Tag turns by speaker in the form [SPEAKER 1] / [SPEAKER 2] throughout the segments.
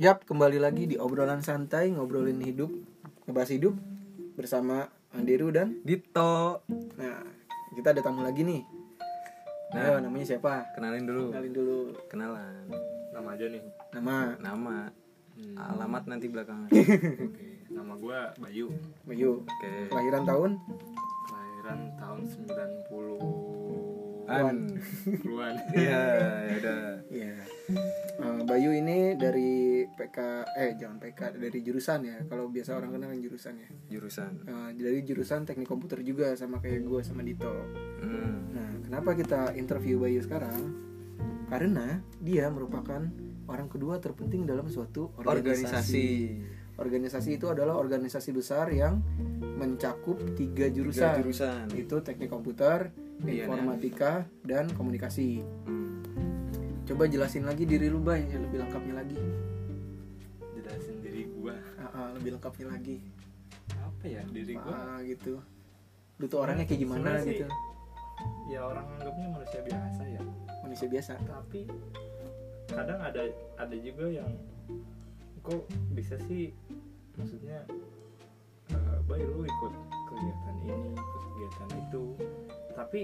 [SPEAKER 1] Yap, kembali lagi di obrolan santai, ngobrolin hidup, ngebahas hidup bersama Andiru dan
[SPEAKER 2] Dito
[SPEAKER 1] nah, kita ada tamu lagi nih. Ayo, namanya siapa?
[SPEAKER 2] kenalin dulu
[SPEAKER 1] Kenalin dulu
[SPEAKER 2] kenalan
[SPEAKER 3] nama aja nih
[SPEAKER 1] nama
[SPEAKER 2] nama Hmm. alamat nanti belakangan
[SPEAKER 3] oke nama gue Bayu
[SPEAKER 1] Bayu.
[SPEAKER 2] oke
[SPEAKER 1] Kelahiran tahun?
[SPEAKER 3] kelahiran tahun 90
[SPEAKER 2] an
[SPEAKER 3] an
[SPEAKER 2] iya ya udah
[SPEAKER 1] Iya. Eh, Bayu ini dari PK eh jangan PK dari jurusan ya. Kalau biasa orang kenal yang jurusan ya.
[SPEAKER 2] jurusan
[SPEAKER 1] Eh, dari jurusan teknik komputer juga sama kayak gue sama Dito.
[SPEAKER 2] hmm.
[SPEAKER 1] Nah, kenapa kita interview Bayu sekarang? Karena dia merupakan orang kedua terpenting dalam suatu
[SPEAKER 2] organisasi
[SPEAKER 1] organisasi. Organisasi itu adalah organisasi besar yang mencakup tiga
[SPEAKER 2] Tiga
[SPEAKER 1] jurusan.
[SPEAKER 2] jurusan
[SPEAKER 1] Itu teknik komputer,
[SPEAKER 2] Iya,
[SPEAKER 1] informatika, dan komunikasi.
[SPEAKER 2] Hmm.
[SPEAKER 1] Coba jelasin lagi diri lu, Bay, yang lebih lengkapnya lagi.
[SPEAKER 3] jelasin diri gue
[SPEAKER 1] Ah, ah, lebih lengkapnya lagi.
[SPEAKER 3] apa ya diri gue
[SPEAKER 1] Ah, gitu. Lu tuh orangnya kayak gimana
[SPEAKER 3] Sebenarnya sih-
[SPEAKER 1] gitu?
[SPEAKER 3] ya orang anggapnya manusia biasa ya
[SPEAKER 1] Manusia biasa.
[SPEAKER 3] tapi kadang ada ada juga yang kok bisa sih maksudnya eh, Bay lu ikut kegiatan ini ikut kegiatan itu tapi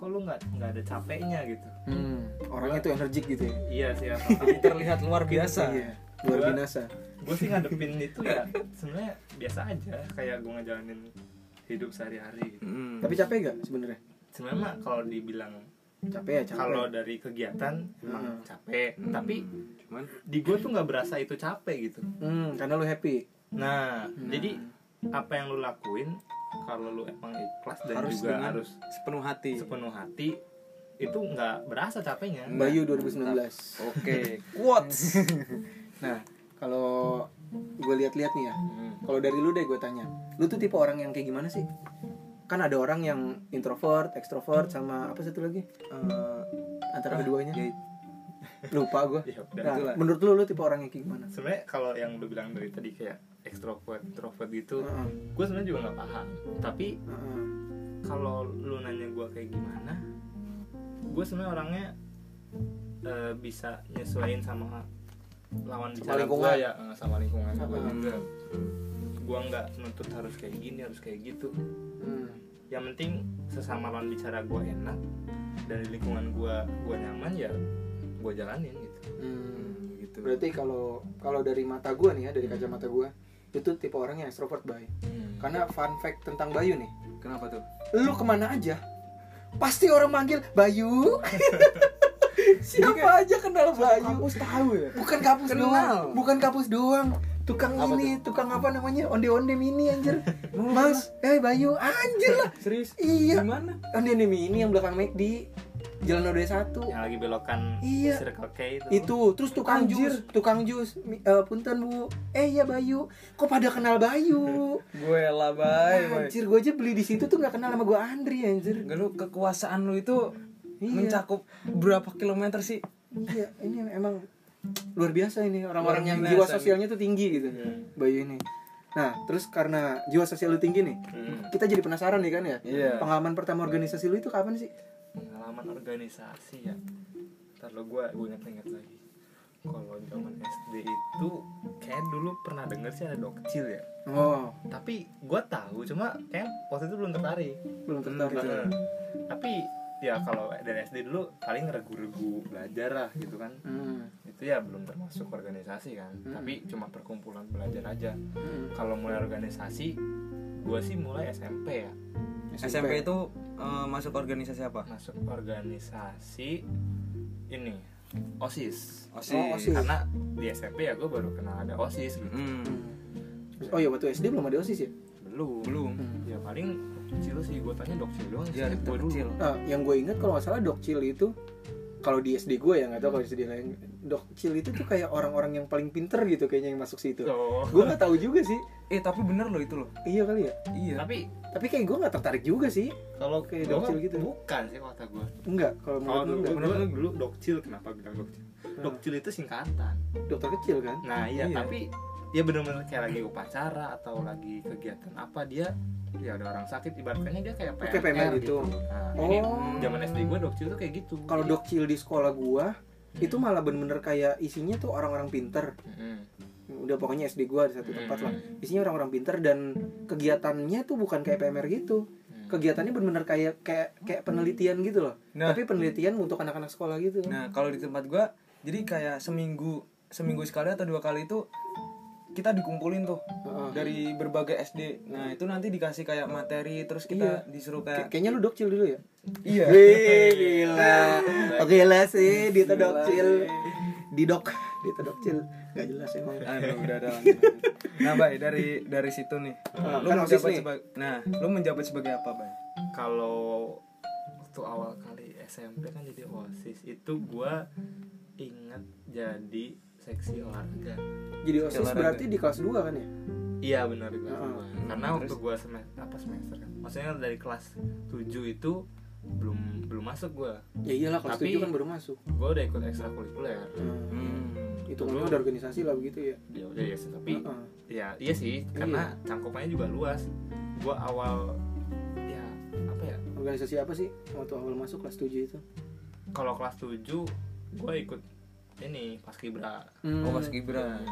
[SPEAKER 3] kok lu nggak nggak ada capeknya gitu
[SPEAKER 1] Hmm, orangnya tuh energik gitu ya.
[SPEAKER 3] iya sih apa
[SPEAKER 2] terlihat luar biasa
[SPEAKER 1] Iya, luar
[SPEAKER 3] Gua-
[SPEAKER 1] binasa.
[SPEAKER 3] gue sih ngadepin itu ya sebenarnya biasa aja kayak gue ngejalanin hidup sehari-hari gitu.
[SPEAKER 2] Hmm.
[SPEAKER 1] Tapi capek gak sebenarnya?
[SPEAKER 3] sebenarnya mah kalau dibilang
[SPEAKER 1] Capek ya, capek.
[SPEAKER 3] kalau dari kegiatan emang
[SPEAKER 1] Hmm.
[SPEAKER 3] capek
[SPEAKER 2] Hmm.
[SPEAKER 3] tapi
[SPEAKER 2] cuman
[SPEAKER 3] di gue tuh nggak berasa itu capek gitu
[SPEAKER 1] hmm, karena lu happy.
[SPEAKER 3] nah
[SPEAKER 1] Hmm.
[SPEAKER 3] jadi apa yang lu lakuin kalau lu emang ikhlas dan
[SPEAKER 2] Harus
[SPEAKER 3] juga
[SPEAKER 2] dengan-
[SPEAKER 3] harus
[SPEAKER 2] sepenuh hati
[SPEAKER 3] sepenuh hati itu nggak berasa capeknya
[SPEAKER 1] Bayu 2019.
[SPEAKER 2] oke quotes
[SPEAKER 1] Nah, kalau gue lihat-lihat nih ya.
[SPEAKER 3] Hmm.
[SPEAKER 1] Kalau dari lu deh gue tanya. Lu tuh tipe orang yang kayak gimana sih? Kan ada orang yang introvert, extrovert sama apa satu lagi? Eh, antara keduanya.
[SPEAKER 2] Ya,
[SPEAKER 1] Lupa gue.
[SPEAKER 3] ya udah
[SPEAKER 1] Nah,
[SPEAKER 2] itulah.
[SPEAKER 1] menurut lu lu tipe orang yang kayak gimana?
[SPEAKER 3] sebenarnya kalau yang lu bilang dari tadi kayak ekstrovert introvert gitu
[SPEAKER 1] Heeh,
[SPEAKER 3] gue sebenarnya juga nggak paham tapi
[SPEAKER 1] heeh.
[SPEAKER 3] kalau lu nanya gue kayak gimana gue sebenarnya orangnya eh, bisa nyesuaiin sama lawan bicara
[SPEAKER 1] lingkungan.
[SPEAKER 3] gua ya eh, sama lingkungan gue
[SPEAKER 1] Sama.
[SPEAKER 3] juga gue nggak menuntut harus kayak gini harus kayak gitu
[SPEAKER 1] Hmm,
[SPEAKER 3] yang penting sesama lawan bicara gue enak dari lingkungan gue gue nyaman ya gue jalanin gitu
[SPEAKER 1] hmm.
[SPEAKER 2] Hmm, gitu
[SPEAKER 1] Berarti kalau kalau dari mata gue nih ya, dari kacamata gue, itu tipe orang yang extrovert bay. Karena fun fact tentang Bayu nih,
[SPEAKER 2] kenapa tuh
[SPEAKER 1] lu kemana aja pasti orang manggil Bayu siapa aja kenal Bayu
[SPEAKER 2] kampus tahu ya
[SPEAKER 1] bukan kampus
[SPEAKER 2] Kenal.
[SPEAKER 1] doang bukan kampus doang tukang
[SPEAKER 2] Apa
[SPEAKER 1] ini tukang apa namanya onde onde mini anjir mas eh Bayu anjir lah
[SPEAKER 2] serius
[SPEAKER 1] iya
[SPEAKER 2] gimana
[SPEAKER 1] onde onde mini yang belakang McD jalan Ode satu
[SPEAKER 3] yang lagi belokan
[SPEAKER 1] Iya.
[SPEAKER 3] circle K itu,
[SPEAKER 1] itu terus tukang
[SPEAKER 2] Anjir.
[SPEAKER 1] jus tukang jus Mi- eh, punten bu eh iya Bayu kok pada kenal Bayu
[SPEAKER 2] gue lah bye bye.
[SPEAKER 1] anjir gue aja beli di situ tuh nggak kenal sama gue Andri anjir
[SPEAKER 2] Enggak lu kekuasaan lu itu
[SPEAKER 1] Iya.
[SPEAKER 2] mencakup berapa kilometer sih?
[SPEAKER 1] Iya, ini emang luar biasa ini orang-orang
[SPEAKER 2] Luar
[SPEAKER 1] yang
[SPEAKER 2] biasa Iya.
[SPEAKER 1] jiwa
[SPEAKER 2] nih.
[SPEAKER 1] sosialnya tuh tinggi gitu. Bayu ini. Nah, terus karena jiwa sosial lu tinggi nih,
[SPEAKER 3] Hmm.
[SPEAKER 1] kita jadi penasaran nih kan ya.
[SPEAKER 2] Iya.
[SPEAKER 1] Pengalaman pertama organisasi lu itu kapan sih?
[SPEAKER 3] pengalaman organisasi ya ntar lo gue gue ingat-ingat lagi kalau zaman SD itu kayak dulu pernah denger sih ada dokcil ya
[SPEAKER 1] Oh,
[SPEAKER 3] tapi gue tahu cuma kayak waktu itu belum tertarik
[SPEAKER 1] belum tertarik.
[SPEAKER 3] Nah,
[SPEAKER 1] tuh.
[SPEAKER 3] tapi ya kalau dari SD dulu paling regu-regu belajar lah gitu kan
[SPEAKER 1] Hmm.
[SPEAKER 3] itu ya belum termasuk organisasi kan
[SPEAKER 1] Hmm.
[SPEAKER 3] tapi cuma perkumpulan belajar aja
[SPEAKER 1] Hmm.
[SPEAKER 3] kalau mulai organisasi gue sih mulai SMP ya
[SPEAKER 2] SMP itu eh, masuk organisasi apa?
[SPEAKER 3] masuk organisasi ini osis
[SPEAKER 2] OSIS.
[SPEAKER 1] Oh, OSIS.
[SPEAKER 3] karena di SMP ya gue baru kenal ada osis gitu
[SPEAKER 2] Hmm,
[SPEAKER 1] Hmm. Oh iya waktu SD belum ada OSIS ya?
[SPEAKER 3] belum
[SPEAKER 2] belum.
[SPEAKER 1] Hmm.
[SPEAKER 3] ya paling kecil sih gue tanya dokter doang
[SPEAKER 2] Ya,
[SPEAKER 3] sih,
[SPEAKER 2] itu
[SPEAKER 3] gua dulu.
[SPEAKER 2] kecil.
[SPEAKER 1] Nah, yang gue ingat kalau nggak salah dokcil itu kalau di SD gue ya nggak tahu kalau di SD lain dokcil itu tuh kayak orang-orang yang paling pinter gitu kayaknya yang masuk situ.
[SPEAKER 2] Iya.
[SPEAKER 3] So,
[SPEAKER 1] Gue nggak tahu juga sih.
[SPEAKER 2] Eh, tapi bener loh itu loh.
[SPEAKER 1] Iya kali ya.
[SPEAKER 2] Iya.
[SPEAKER 3] tapi
[SPEAKER 1] Tapi kayak gue nggak tertarik juga sih.
[SPEAKER 3] kalau
[SPEAKER 1] Kayak
[SPEAKER 3] kayak
[SPEAKER 1] dokcil gitu.
[SPEAKER 3] bukan sih kata gue
[SPEAKER 1] Enggak, kalau menurut
[SPEAKER 2] Oh,
[SPEAKER 3] kalau
[SPEAKER 1] lu
[SPEAKER 3] dulu
[SPEAKER 1] enggak.
[SPEAKER 3] gua- gua dulu dokcil kenapa bilang dokcil
[SPEAKER 1] Hmm.
[SPEAKER 3] dokcil itu singkatan
[SPEAKER 1] dokter kecil kan?
[SPEAKER 3] nah iya,
[SPEAKER 2] Iya.
[SPEAKER 3] tapi ya bener-bener kayak lagi upacara atau lagi kegiatan apa dia ya ada orang sakit ibaratnya dia kayak PMR,
[SPEAKER 1] Oke, PMR gitu.
[SPEAKER 3] gitu. Nah,
[SPEAKER 1] Oh.
[SPEAKER 3] ini zaman SD gue dokcil tuh kayak gitu
[SPEAKER 1] Kalau dokcil di sekolah gua
[SPEAKER 2] Hmm.
[SPEAKER 1] itu malah bener-bener kayak isinya tuh orang-orang pinter udah pokoknya SD gua di
[SPEAKER 2] Hmm.
[SPEAKER 1] satu tempat lah isinya orang-orang pinter dan kegiatannya tuh bukan kayak PMR gitu
[SPEAKER 2] Hmm.
[SPEAKER 1] kegiatannya bener-bener kayak kayak kayak penelitian gitu loh
[SPEAKER 2] Nah.
[SPEAKER 1] tapi penelitian untuk anak-anak sekolah gitu
[SPEAKER 2] Nah, kalau di tempat gua jadi kayak seminggu seminggu sekali atau dua kali itu kita dikumpulin tuh
[SPEAKER 1] Heeh.
[SPEAKER 2] dari berbagai SD. Nah, itu nanti dikasih kayak materi terus kita disuruh
[SPEAKER 1] Kay-
[SPEAKER 2] kayak
[SPEAKER 1] kayaknya lu dokcil dulu ya
[SPEAKER 2] iya.
[SPEAKER 1] Iya. Wih, gila oke lah sih Dita dokcil didok Dita dokcil nggak jelas emang
[SPEAKER 2] Aduh, udah ada. Nah, Bay, dari dari situ nih.
[SPEAKER 1] Ah,
[SPEAKER 2] lu
[SPEAKER 1] kan
[SPEAKER 2] menjabat
[SPEAKER 1] OSIS nih.
[SPEAKER 2] sebagai Nah, lu menjabat sebagai apa, Bay?
[SPEAKER 3] kalau waktu awal kali SMP kan jadi osis itu gua ingat jadi seksi olahraga
[SPEAKER 1] jadi osis
[SPEAKER 2] Olahraga.
[SPEAKER 1] berarti di kelas 2 kan ya
[SPEAKER 3] iya benar benar
[SPEAKER 1] Heeh.
[SPEAKER 3] gua. karena waktu gua semester apa semester kan maksudnya dari kelas 7 itu belum belum masuk gua
[SPEAKER 1] ya iyalah kelas
[SPEAKER 3] Tapi-
[SPEAKER 1] 7 kan baru masuk
[SPEAKER 3] gua udah ikut ekstrakurikuler
[SPEAKER 1] Nah,
[SPEAKER 2] Hmm.
[SPEAKER 1] hitungannya udah organisasi lah begitu ya
[SPEAKER 3] ya udah ya tapi
[SPEAKER 1] Heeh.
[SPEAKER 3] ya iya sih karena cangkupannya juga luas gua awal ya apa ya
[SPEAKER 1] organisasi apa sih waktu awal masuk kelas 7 itu
[SPEAKER 3] kalau kelas 7 gua ikut ini paskibra
[SPEAKER 1] hmm.
[SPEAKER 2] Oh, Mas Gibran.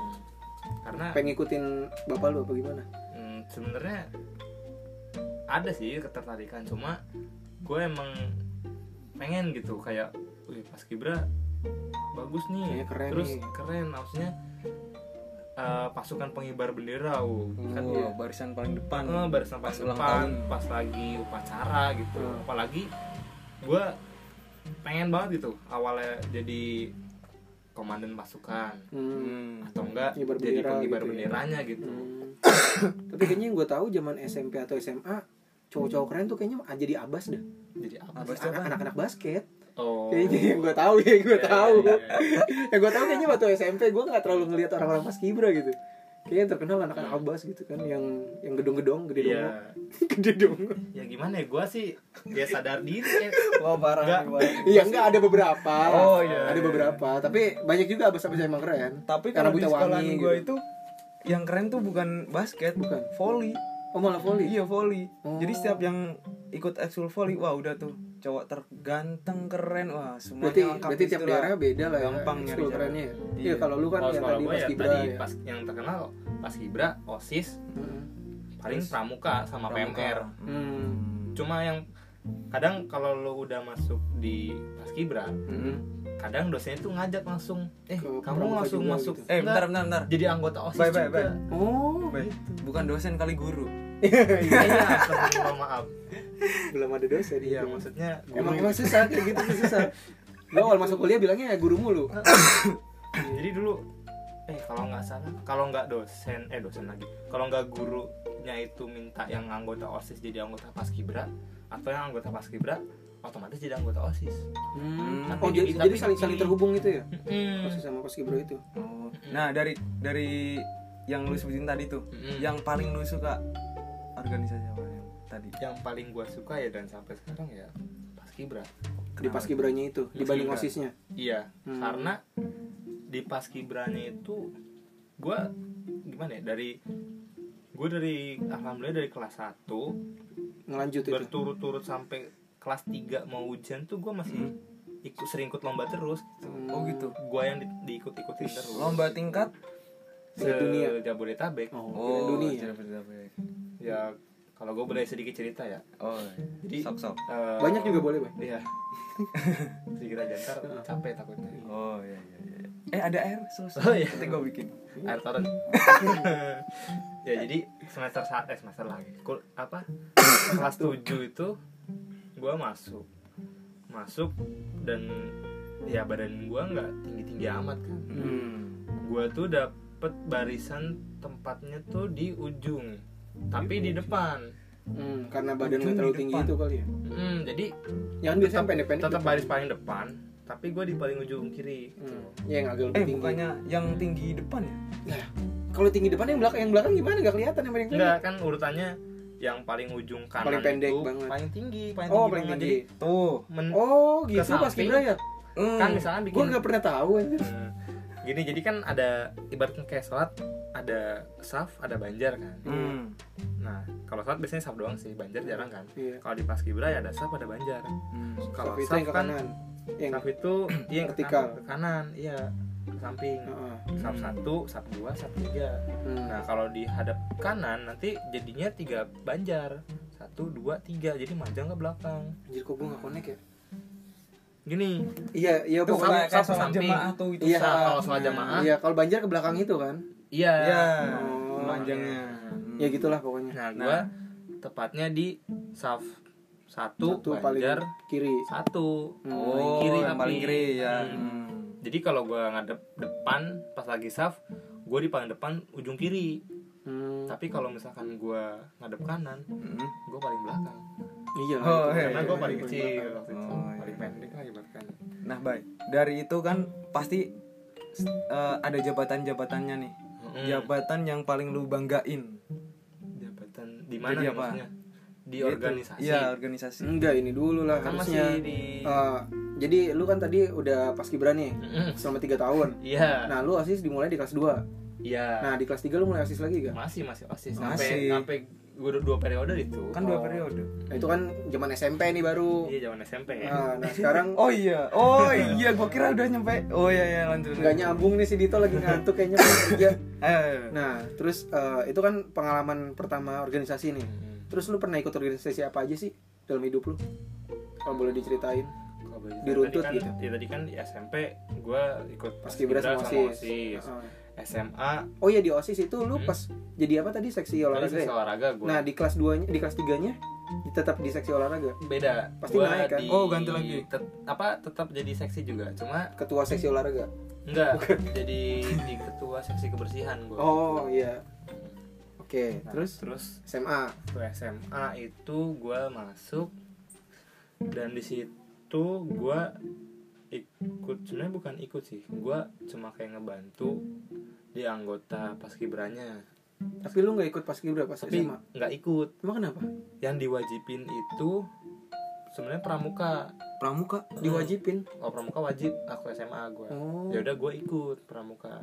[SPEAKER 3] karena
[SPEAKER 1] pengen ngikutin bapak lu apa gimana
[SPEAKER 3] Hmm, sebenarnya ada sih ketertarikan cuma gue emang pengen gitu kayak wih pas kibra bagus nih
[SPEAKER 1] Kayaknya keren
[SPEAKER 3] terus
[SPEAKER 1] nih.
[SPEAKER 3] keren maksudnya eh, pasukan pengibar bendera wow. kan
[SPEAKER 1] Hmm.
[SPEAKER 2] Wah,
[SPEAKER 3] dia
[SPEAKER 2] barisan paling depan.
[SPEAKER 3] eh, barisan
[SPEAKER 2] Pas
[SPEAKER 3] pas
[SPEAKER 2] ulang
[SPEAKER 3] depan
[SPEAKER 2] tahun.
[SPEAKER 3] pas lagi upacara gitu
[SPEAKER 1] Hmm.
[SPEAKER 3] apalagi gue pengen banget gitu awalnya jadi komandan pasukan
[SPEAKER 1] hmm.
[SPEAKER 2] Hmm.
[SPEAKER 3] atau enggak
[SPEAKER 1] Pengibar
[SPEAKER 3] jadi
[SPEAKER 1] bendera
[SPEAKER 3] pengibar
[SPEAKER 1] gitu ya.
[SPEAKER 3] benderanya gitu
[SPEAKER 1] Hmm. tapi kayaknya yang gue tahu zaman SMP atau SMA cowok-cowok keren tuh kayaknya ah, jadi abas dah
[SPEAKER 3] jadi apa
[SPEAKER 2] Abas
[SPEAKER 3] sih?
[SPEAKER 2] tuh apa?
[SPEAKER 1] anak-anak basket
[SPEAKER 3] oh
[SPEAKER 1] kayaknya yang gue tahu ya yang gue
[SPEAKER 3] Iya,
[SPEAKER 1] tahu
[SPEAKER 3] iya, iya.
[SPEAKER 1] yang gue tahu kayaknya waktu SMP gue nggak terlalu ngelihat orang-orang pas kibra gitu kayaknya yang terkenal anak-anak abas gitu kan yang yang gedung-gedung gede
[SPEAKER 3] Iya.
[SPEAKER 1] dongo gede dongo
[SPEAKER 3] Ya gimana ya gue sih ya sadar diri eh.
[SPEAKER 2] Wah, parah
[SPEAKER 3] Enggak.
[SPEAKER 2] nih, Bay.
[SPEAKER 1] Iya enggak ada beberapa.
[SPEAKER 2] Oh, iya,
[SPEAKER 1] Ada
[SPEAKER 2] iya,
[SPEAKER 1] beberapa, tapi banyak juga abas-abas yang emang keren.
[SPEAKER 2] Tapi
[SPEAKER 1] Karena
[SPEAKER 2] kalau di
[SPEAKER 1] buta
[SPEAKER 2] sekolahan
[SPEAKER 1] wangi,
[SPEAKER 2] gua
[SPEAKER 1] gitu.
[SPEAKER 2] itu yang keren tuh bukan basket,
[SPEAKER 1] Bukan.
[SPEAKER 2] volley.
[SPEAKER 1] Oh malah volley.
[SPEAKER 2] Iya volley.
[SPEAKER 1] Oh.
[SPEAKER 2] Jadi setiap yang ikut ekskul volley, wah udah tuh cowok terganteng keren, wah semuanya
[SPEAKER 1] Berarti
[SPEAKER 2] lengkap
[SPEAKER 1] berarti
[SPEAKER 2] di
[SPEAKER 1] tiap
[SPEAKER 2] situ lah.
[SPEAKER 1] daerah beda lah ya.
[SPEAKER 2] Gampang nyari
[SPEAKER 1] School
[SPEAKER 2] jalan.
[SPEAKER 1] kerennya. ya.
[SPEAKER 2] Iya.
[SPEAKER 1] Iya kalau lu kan
[SPEAKER 3] Kalau
[SPEAKER 1] yang
[SPEAKER 3] sekolah
[SPEAKER 1] tadi pas
[SPEAKER 3] gue ya
[SPEAKER 1] kibra
[SPEAKER 3] tadi
[SPEAKER 1] ya.
[SPEAKER 3] pas yang terkenal pas Kibra, OSIS,
[SPEAKER 1] Heeh.
[SPEAKER 3] paling pramuka sama PMR.
[SPEAKER 1] Hmm.
[SPEAKER 3] Cuma yang kadang kalau lo udah masuk di pas Kibra,
[SPEAKER 2] Hmm.
[SPEAKER 1] Heeh.
[SPEAKER 3] kadang dosennya tuh ngajak langsung, eh
[SPEAKER 1] Ke
[SPEAKER 3] kamu
[SPEAKER 1] pramuka
[SPEAKER 3] langsung
[SPEAKER 1] juga
[SPEAKER 3] masuk.
[SPEAKER 1] gitu.
[SPEAKER 2] Eh, bentar,
[SPEAKER 3] Enggak,
[SPEAKER 2] bentar, bentar.
[SPEAKER 3] jadi anggota OSIS
[SPEAKER 2] Bye, bye,
[SPEAKER 3] juga.
[SPEAKER 2] bye.
[SPEAKER 1] Oh.
[SPEAKER 2] Weh, Bukan dosen kali guru.
[SPEAKER 3] Iya, iya, astagfirullah, maaf.
[SPEAKER 1] Belum ada dosen
[SPEAKER 3] Iya,
[SPEAKER 1] dia.
[SPEAKER 3] maksudnya
[SPEAKER 1] Emang
[SPEAKER 3] guru-
[SPEAKER 1] emang susah kayak gitu tuh susah. Gua awal masuk kuliah bilangnya ya guru mulu.
[SPEAKER 3] jadi dulu eh kalau nggak salah kalau nggak dosen eh dosen lagi kalau nggak gurunya itu minta yang anggota osis jadi anggota paskibra atau yang anggota paskibra otomatis jadi anggota osis
[SPEAKER 1] Hmm.
[SPEAKER 3] Tapi
[SPEAKER 1] Oh jadi,
[SPEAKER 3] jadi-
[SPEAKER 1] jadi
[SPEAKER 3] tapi-
[SPEAKER 1] saling saling terhubung gitu ya.
[SPEAKER 2] Hmm.
[SPEAKER 3] Mm-mm.
[SPEAKER 1] Masih sama pas kibra itu.
[SPEAKER 2] Oh. Nah, dari dari yang lu sebutin tadi tuh,
[SPEAKER 3] Mm-mm.
[SPEAKER 2] yang paling lu suka organisasi apa yang tadi?
[SPEAKER 3] yang paling gue suka ya dan sampai sekarang ya paskibra
[SPEAKER 1] Di pas kibranya itu dibanding
[SPEAKER 3] Paskibra.
[SPEAKER 1] osisnya.
[SPEAKER 3] iya
[SPEAKER 1] Hmm.
[SPEAKER 3] karena di paskibranya itu gue gimana ya dari gue dari alhamdulillah dari kelas 1
[SPEAKER 1] Ngelanjut itu.
[SPEAKER 3] berturut-turut sampai kelas 3 mau ujian tuh gue masih ikut sering ikut lomba terus
[SPEAKER 1] Hmm.
[SPEAKER 2] Oh gitu.
[SPEAKER 3] gue yang di- diikut-ikutin terus
[SPEAKER 2] Lomba tingkat
[SPEAKER 3] se
[SPEAKER 1] Sedunia.
[SPEAKER 3] Jabodetabek
[SPEAKER 1] Oh, kirain dunia.
[SPEAKER 2] Jawa Barat, Jawa Barat.
[SPEAKER 3] ya kalau gue boleh sedikit cerita ya
[SPEAKER 2] Oh.
[SPEAKER 3] Jadi-
[SPEAKER 2] sok sok.
[SPEAKER 3] Eh,
[SPEAKER 1] Banyak juga boleh, Bay.
[SPEAKER 3] iya sedikit aja ntar capek takutnya
[SPEAKER 2] Oh iya iya iya. Eh ada air sos.
[SPEAKER 3] Oh, iya.
[SPEAKER 2] Nanti gua bikin.
[SPEAKER 3] air torrent ya jadi semester saat eh semester lagi Kul- apa kelas 7 itu gue masuk masuk dan ya badan gue nggak tinggi tinggi amat kan
[SPEAKER 2] Hmm.
[SPEAKER 3] gue tuh dapet barisan tempatnya tuh di ujung tapi di depan
[SPEAKER 1] Hmm, karena badan
[SPEAKER 2] Ujung
[SPEAKER 1] nggak
[SPEAKER 2] di
[SPEAKER 1] terlalu tinggi
[SPEAKER 2] depan.
[SPEAKER 1] itu kali ya.
[SPEAKER 3] Hmm, jadi
[SPEAKER 1] Ya kan biasanya pendek-pendek.
[SPEAKER 3] tetap baris paling depan tapi gue di paling ujung kiri
[SPEAKER 1] Hmm, ya yang agak lebih
[SPEAKER 2] Eh
[SPEAKER 1] tinggi.
[SPEAKER 2] bukannya yang tinggi depan ya?
[SPEAKER 1] Nah, kalau tinggi depan yang belakang yang belakang gimana nggak kelihatan yang paling pendek.
[SPEAKER 3] enggak kan urutannya yang paling ujung kanan
[SPEAKER 1] Paling pendek
[SPEAKER 3] itu
[SPEAKER 1] banget.
[SPEAKER 3] paling tinggi paling
[SPEAKER 1] Oh,
[SPEAKER 3] tinggi
[SPEAKER 1] paling
[SPEAKER 3] banget.
[SPEAKER 1] tinggi.
[SPEAKER 2] Tuh.
[SPEAKER 3] jadi men
[SPEAKER 1] Oh,
[SPEAKER 3] Ke
[SPEAKER 1] gitu pas
[SPEAKER 3] samping.
[SPEAKER 1] kibra ya.
[SPEAKER 2] Hmm.
[SPEAKER 3] kan misalnya bikin
[SPEAKER 1] Gua nggak pernah tahu anjir.
[SPEAKER 3] Hmm, gini jadi kan ada ibaratnya kayak sholat ada saf ada banjar kan
[SPEAKER 2] Hmm.
[SPEAKER 3] nah kalau sholat biasanya saf doang sih banjar jarang kan
[SPEAKER 1] Iya.
[SPEAKER 3] kalau di paskibra ya ada saf ada banjar
[SPEAKER 2] Hmm.
[SPEAKER 3] kalau
[SPEAKER 1] Tapi itu
[SPEAKER 3] saf
[SPEAKER 1] yang ke
[SPEAKER 3] kan
[SPEAKER 1] kanan. yang
[SPEAKER 3] sub itu iya yang ke
[SPEAKER 1] Vertikal.
[SPEAKER 3] kanan, ke kanan iya ke samping
[SPEAKER 1] Heeh.
[SPEAKER 3] sub
[SPEAKER 2] Hmm.
[SPEAKER 3] satu sub dua sub tiga
[SPEAKER 1] Hmm.
[SPEAKER 3] nah kalau dihadap kanan nanti jadinya tiga banjar satu dua tiga jadi manjang ke belakang
[SPEAKER 1] anjir kok gue gak connect ya
[SPEAKER 3] gini
[SPEAKER 1] iya iya
[SPEAKER 2] Itu
[SPEAKER 1] pokoknya
[SPEAKER 2] kayak kayak
[SPEAKER 3] sub
[SPEAKER 2] sholat
[SPEAKER 3] samping.
[SPEAKER 2] jemaah tuh itu.
[SPEAKER 1] iya
[SPEAKER 3] sah, kalau sholat jamaah.
[SPEAKER 1] iya kalau banjir ke belakang itu kan
[SPEAKER 3] iya
[SPEAKER 2] Iya. Hmm.
[SPEAKER 1] Oh.
[SPEAKER 2] Panjangnya.
[SPEAKER 1] ya
[SPEAKER 2] gitu.
[SPEAKER 1] gitulah pokoknya
[SPEAKER 3] nah gua tepatnya di sub satu,
[SPEAKER 1] satu paling
[SPEAKER 3] banjar
[SPEAKER 1] kiri
[SPEAKER 3] satu
[SPEAKER 1] Hmm.
[SPEAKER 3] paling kiri
[SPEAKER 2] Oh, yang
[SPEAKER 3] tapi.
[SPEAKER 2] paling kiri ya.
[SPEAKER 3] Hmm.
[SPEAKER 2] Hmm.
[SPEAKER 3] jadi kalau gua ngadep depan pas lagi saf gue di paling depan ujung kiri
[SPEAKER 1] Hmm,
[SPEAKER 3] tapi kalau misalkan gua ngadep kanan
[SPEAKER 2] Hmm.
[SPEAKER 3] gue paling belakang
[SPEAKER 1] iya lah
[SPEAKER 2] Oh,
[SPEAKER 1] itu.
[SPEAKER 2] iya,
[SPEAKER 3] karena
[SPEAKER 2] iya,
[SPEAKER 3] gue
[SPEAKER 2] iya,
[SPEAKER 3] paling
[SPEAKER 2] iya.
[SPEAKER 3] kecil
[SPEAKER 1] belakang.
[SPEAKER 3] waktu itu
[SPEAKER 2] Oh, iya.
[SPEAKER 3] paling pendek lah ibaratkan
[SPEAKER 2] Nah, baik. Dari itu kan pasti s- eh, ada jabatan-jabatannya nih.
[SPEAKER 1] Hmm.
[SPEAKER 3] Mm.
[SPEAKER 2] Jabatan yang paling lu banggain.
[SPEAKER 3] jabatan di mana
[SPEAKER 2] Jadi
[SPEAKER 3] nih
[SPEAKER 2] apa?
[SPEAKER 3] maksudnya di
[SPEAKER 2] Gitu.
[SPEAKER 3] organisasi
[SPEAKER 2] Iya, uh, organisasi.
[SPEAKER 1] enggak ini dulu lah
[SPEAKER 3] kan
[SPEAKER 1] harusnya
[SPEAKER 3] masih di
[SPEAKER 1] Eh, jadi lu kan tadi udah paskibra nih
[SPEAKER 3] Mm-mm.
[SPEAKER 1] selama 3 tahun
[SPEAKER 3] iya
[SPEAKER 1] nah lu asis dimulai di kelas 2
[SPEAKER 3] iya
[SPEAKER 1] nah di kelas 3 lu mulai asis lagi gak?
[SPEAKER 3] masih masih osis
[SPEAKER 2] iya. Masih.
[SPEAKER 3] sampai sampai gue dua periode itu
[SPEAKER 2] Kan
[SPEAKER 1] Oh.
[SPEAKER 2] dua periode.
[SPEAKER 1] Nah, itu kan zaman SMP nih baru
[SPEAKER 3] iya zaman SMP ya
[SPEAKER 1] nah, nah sekarang
[SPEAKER 2] Oh iya. Oh iya, gua kira udah nyampe. Oh iya iya lanjut.
[SPEAKER 1] nggak nyambung nih si Dito lagi ngantuk kayaknya pengen kerja.
[SPEAKER 2] Ayo, ayo, ayo.
[SPEAKER 1] nah terus eh, itu kan pengalaman pertama organisasi nih terus lu pernah ikut organisasi apa aja sih dalam hidup lu kalau boleh diceritain
[SPEAKER 3] Kalau baju
[SPEAKER 1] Diruntut
[SPEAKER 3] tadi kan,
[SPEAKER 1] gitu.
[SPEAKER 3] ya tadi kan di SMP gue ikut
[SPEAKER 1] paskibra sama
[SPEAKER 3] sama
[SPEAKER 1] osis
[SPEAKER 3] osis
[SPEAKER 2] Uh,
[SPEAKER 1] Heeh.
[SPEAKER 3] SMA
[SPEAKER 1] oh iya di osis itu lu
[SPEAKER 3] Hmm.
[SPEAKER 1] pas jadi apa tadi seksi
[SPEAKER 3] olahraga,
[SPEAKER 1] olahraga ya?
[SPEAKER 3] olahraga gue
[SPEAKER 1] nah di kelas 2 nya di kelas 3 nya tetap di seksi olahraga
[SPEAKER 3] beda
[SPEAKER 1] Pasti
[SPEAKER 3] Gua
[SPEAKER 1] naik kan?
[SPEAKER 3] di-
[SPEAKER 2] Oh, ganti lagi.
[SPEAKER 3] tet- apa tetap jadi seksi juga cuma
[SPEAKER 1] ketua seksi olahraga
[SPEAKER 3] enggak jadi di ketua seksi kebersihan gue
[SPEAKER 1] oh iya oke nah, terus
[SPEAKER 3] terus terus
[SPEAKER 1] SMA
[SPEAKER 3] tuh SMA itu gue masuk dan di situ gue ikut sebenarnya bukan ikut sih gue cuma kayak ngebantu di anggota paskibranya
[SPEAKER 1] tapi lu nggak ikut paskibra pas
[SPEAKER 3] tapi
[SPEAKER 1] SMA
[SPEAKER 3] nggak ikut
[SPEAKER 1] emang kenapa
[SPEAKER 3] yang diwajibin itu sebenarnya pramuka
[SPEAKER 2] Pramuka.
[SPEAKER 1] diwajibin
[SPEAKER 3] kalau pramuka wajib aku SMA gue
[SPEAKER 1] oh
[SPEAKER 3] ya udah gue ikut pramuka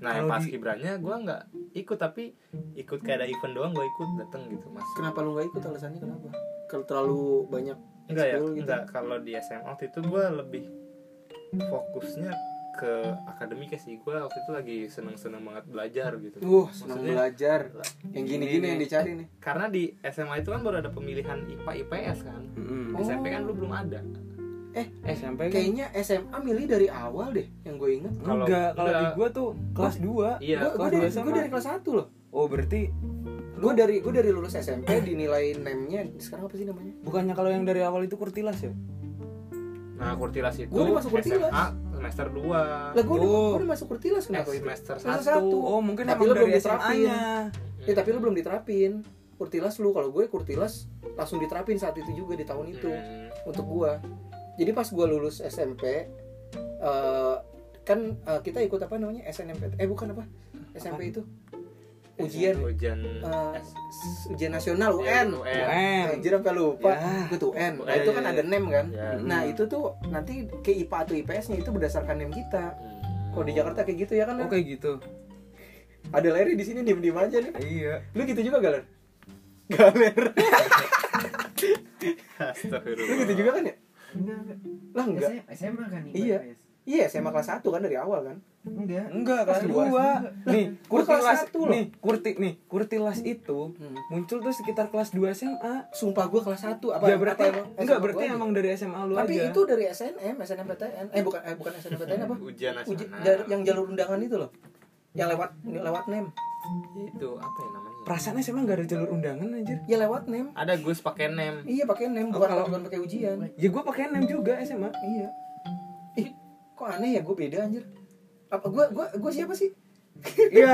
[SPEAKER 3] nah
[SPEAKER 2] Kalau
[SPEAKER 3] yang pas
[SPEAKER 2] di-
[SPEAKER 3] kibranya gue nggak ikut tapi ikut kayak ada event doang gue ikut dateng gitu mas
[SPEAKER 1] kenapa lu nggak ikut alasannya kenapa kalau terlalu banyak
[SPEAKER 3] enggak ya
[SPEAKER 1] ekskul gitu.
[SPEAKER 3] enggak kalau di SMA waktu itu gue lebih fokusnya ke akademik sih gue waktu itu lagi seneng seneng banget belajar gitu
[SPEAKER 1] Wah, Uh, senang
[SPEAKER 3] Maksudnya-
[SPEAKER 1] belajar. Yang gini-gini
[SPEAKER 3] Gini
[SPEAKER 1] yang
[SPEAKER 3] nih.
[SPEAKER 1] dicari nih.
[SPEAKER 3] karena di SMA itu kan baru ada pemilihan IPA IPS kan
[SPEAKER 2] Mm-mm.
[SPEAKER 1] Oh.
[SPEAKER 3] SMP kan lu belum ada
[SPEAKER 2] SMP kan?
[SPEAKER 1] Kayaknya SMA milih dari awal deh yang gue inget.
[SPEAKER 3] Kalau-
[SPEAKER 2] Enggak, kalau di
[SPEAKER 3] enggak.
[SPEAKER 2] gua tuh kelas 2.
[SPEAKER 3] iya
[SPEAKER 1] gue
[SPEAKER 2] kelas
[SPEAKER 1] dari,
[SPEAKER 2] dua SMA.
[SPEAKER 1] gua dari kelas 1 loh.
[SPEAKER 2] Oh, berarti
[SPEAKER 1] Gue dari gue dari lulus SMP dinilai name-nya sekarang apa sih namanya?
[SPEAKER 2] bukannya kalau yang dari awal itu kurtilas ya?
[SPEAKER 3] nah kurtilas itu
[SPEAKER 1] Gua udah masuk Kurtilas.
[SPEAKER 3] SMA semester 2
[SPEAKER 1] Lah gue udah,
[SPEAKER 2] Oh.
[SPEAKER 1] gua udah masuk kurtilas
[SPEAKER 3] eh,
[SPEAKER 1] kenapa itu?
[SPEAKER 3] semester
[SPEAKER 1] Semester
[SPEAKER 3] 1
[SPEAKER 2] Oh, mungkin
[SPEAKER 1] Tapi
[SPEAKER 2] emang
[SPEAKER 1] lu
[SPEAKER 2] dari
[SPEAKER 1] belum diterapin.
[SPEAKER 2] SMA-nya.
[SPEAKER 3] Iya.
[SPEAKER 1] Ya tapi lu belum diterapin. Kurtilas lu kalau gue kurtilas langsung diterapin saat itu juga di tahun itu
[SPEAKER 3] Iya.
[SPEAKER 1] untuk gue. Jadi pas gue lulus SMP eh, kan eh, kita ikut apa namanya SNMP eh bukan apa SMP itu ujian
[SPEAKER 3] ujian
[SPEAKER 1] Eh,
[SPEAKER 3] S-
[SPEAKER 1] s- ujian nasional
[SPEAKER 3] Iya,
[SPEAKER 1] UN.
[SPEAKER 3] UN.
[SPEAKER 2] UN.
[SPEAKER 1] Anjir sampai lupa.
[SPEAKER 2] Ya.
[SPEAKER 1] Itu UN. Nah,
[SPEAKER 3] Iya,
[SPEAKER 1] itu
[SPEAKER 3] iya,
[SPEAKER 1] kan
[SPEAKER 3] iya.
[SPEAKER 1] ada NEM kan.
[SPEAKER 3] Ya.
[SPEAKER 1] Nah, itu tuh nanti ke IPA atau IPS-nya itu berdasarkan NEM kita.
[SPEAKER 3] Hmm.
[SPEAKER 1] Kalau di Jakarta kayak gitu ya kan.
[SPEAKER 2] Oh,
[SPEAKER 1] Oke.
[SPEAKER 2] kayak gitu.
[SPEAKER 1] Ada Larry di sini diem-diem aja nih.
[SPEAKER 2] Iya.
[SPEAKER 1] Lu gitu juga galer? Galer.
[SPEAKER 3] Astagfirullah.
[SPEAKER 1] Lu gitu juga kan ya?
[SPEAKER 4] Enggak,
[SPEAKER 1] Lah enggak.
[SPEAKER 4] enggak. SMA kan nih.
[SPEAKER 1] Iya. Iya, SMA kelas 1 kan dari awal kan.
[SPEAKER 4] Enggak.
[SPEAKER 2] Enggak, kelas
[SPEAKER 1] Kelas dua.
[SPEAKER 2] 2. Nih,
[SPEAKER 1] Gua kelas
[SPEAKER 2] kurtilas
[SPEAKER 1] satu loh.
[SPEAKER 2] nih, kurti nih, kurtilas itu
[SPEAKER 1] Hmm.
[SPEAKER 2] muncul tuh sekitar kelas 2 SMA.
[SPEAKER 1] Sumpah gua kelas 1 apa?
[SPEAKER 2] ya berarti
[SPEAKER 1] apa Iya, emang
[SPEAKER 2] enggak
[SPEAKER 1] SMA
[SPEAKER 2] berarti
[SPEAKER 1] gua aja?
[SPEAKER 2] emang dari SMA lu
[SPEAKER 1] Tapi
[SPEAKER 2] aja.
[SPEAKER 1] itu dari SNM, SNMPTN. Eh bukan eh bukan SNMPTN apa?
[SPEAKER 3] ujian nasional.
[SPEAKER 1] Uji, jar- yang jalur undangan itu loh. Yang lewat lewat NEM.
[SPEAKER 3] itu apa ya namanya?
[SPEAKER 2] perasaan SMA enggak ada jalur undangan anjir.
[SPEAKER 1] Ya lewat NEM.
[SPEAKER 3] Ada Gus pakai nem.
[SPEAKER 1] Iya pakai nem
[SPEAKER 2] Oh,
[SPEAKER 1] bukan
[SPEAKER 2] kalau-
[SPEAKER 1] bukan pakai ujian.
[SPEAKER 2] Ya gua pakai NEM juga SMA.
[SPEAKER 1] Iya. Ih, kok aneh ya gue beda anjir. Apa gue gue gue siapa sih?
[SPEAKER 2] Iya,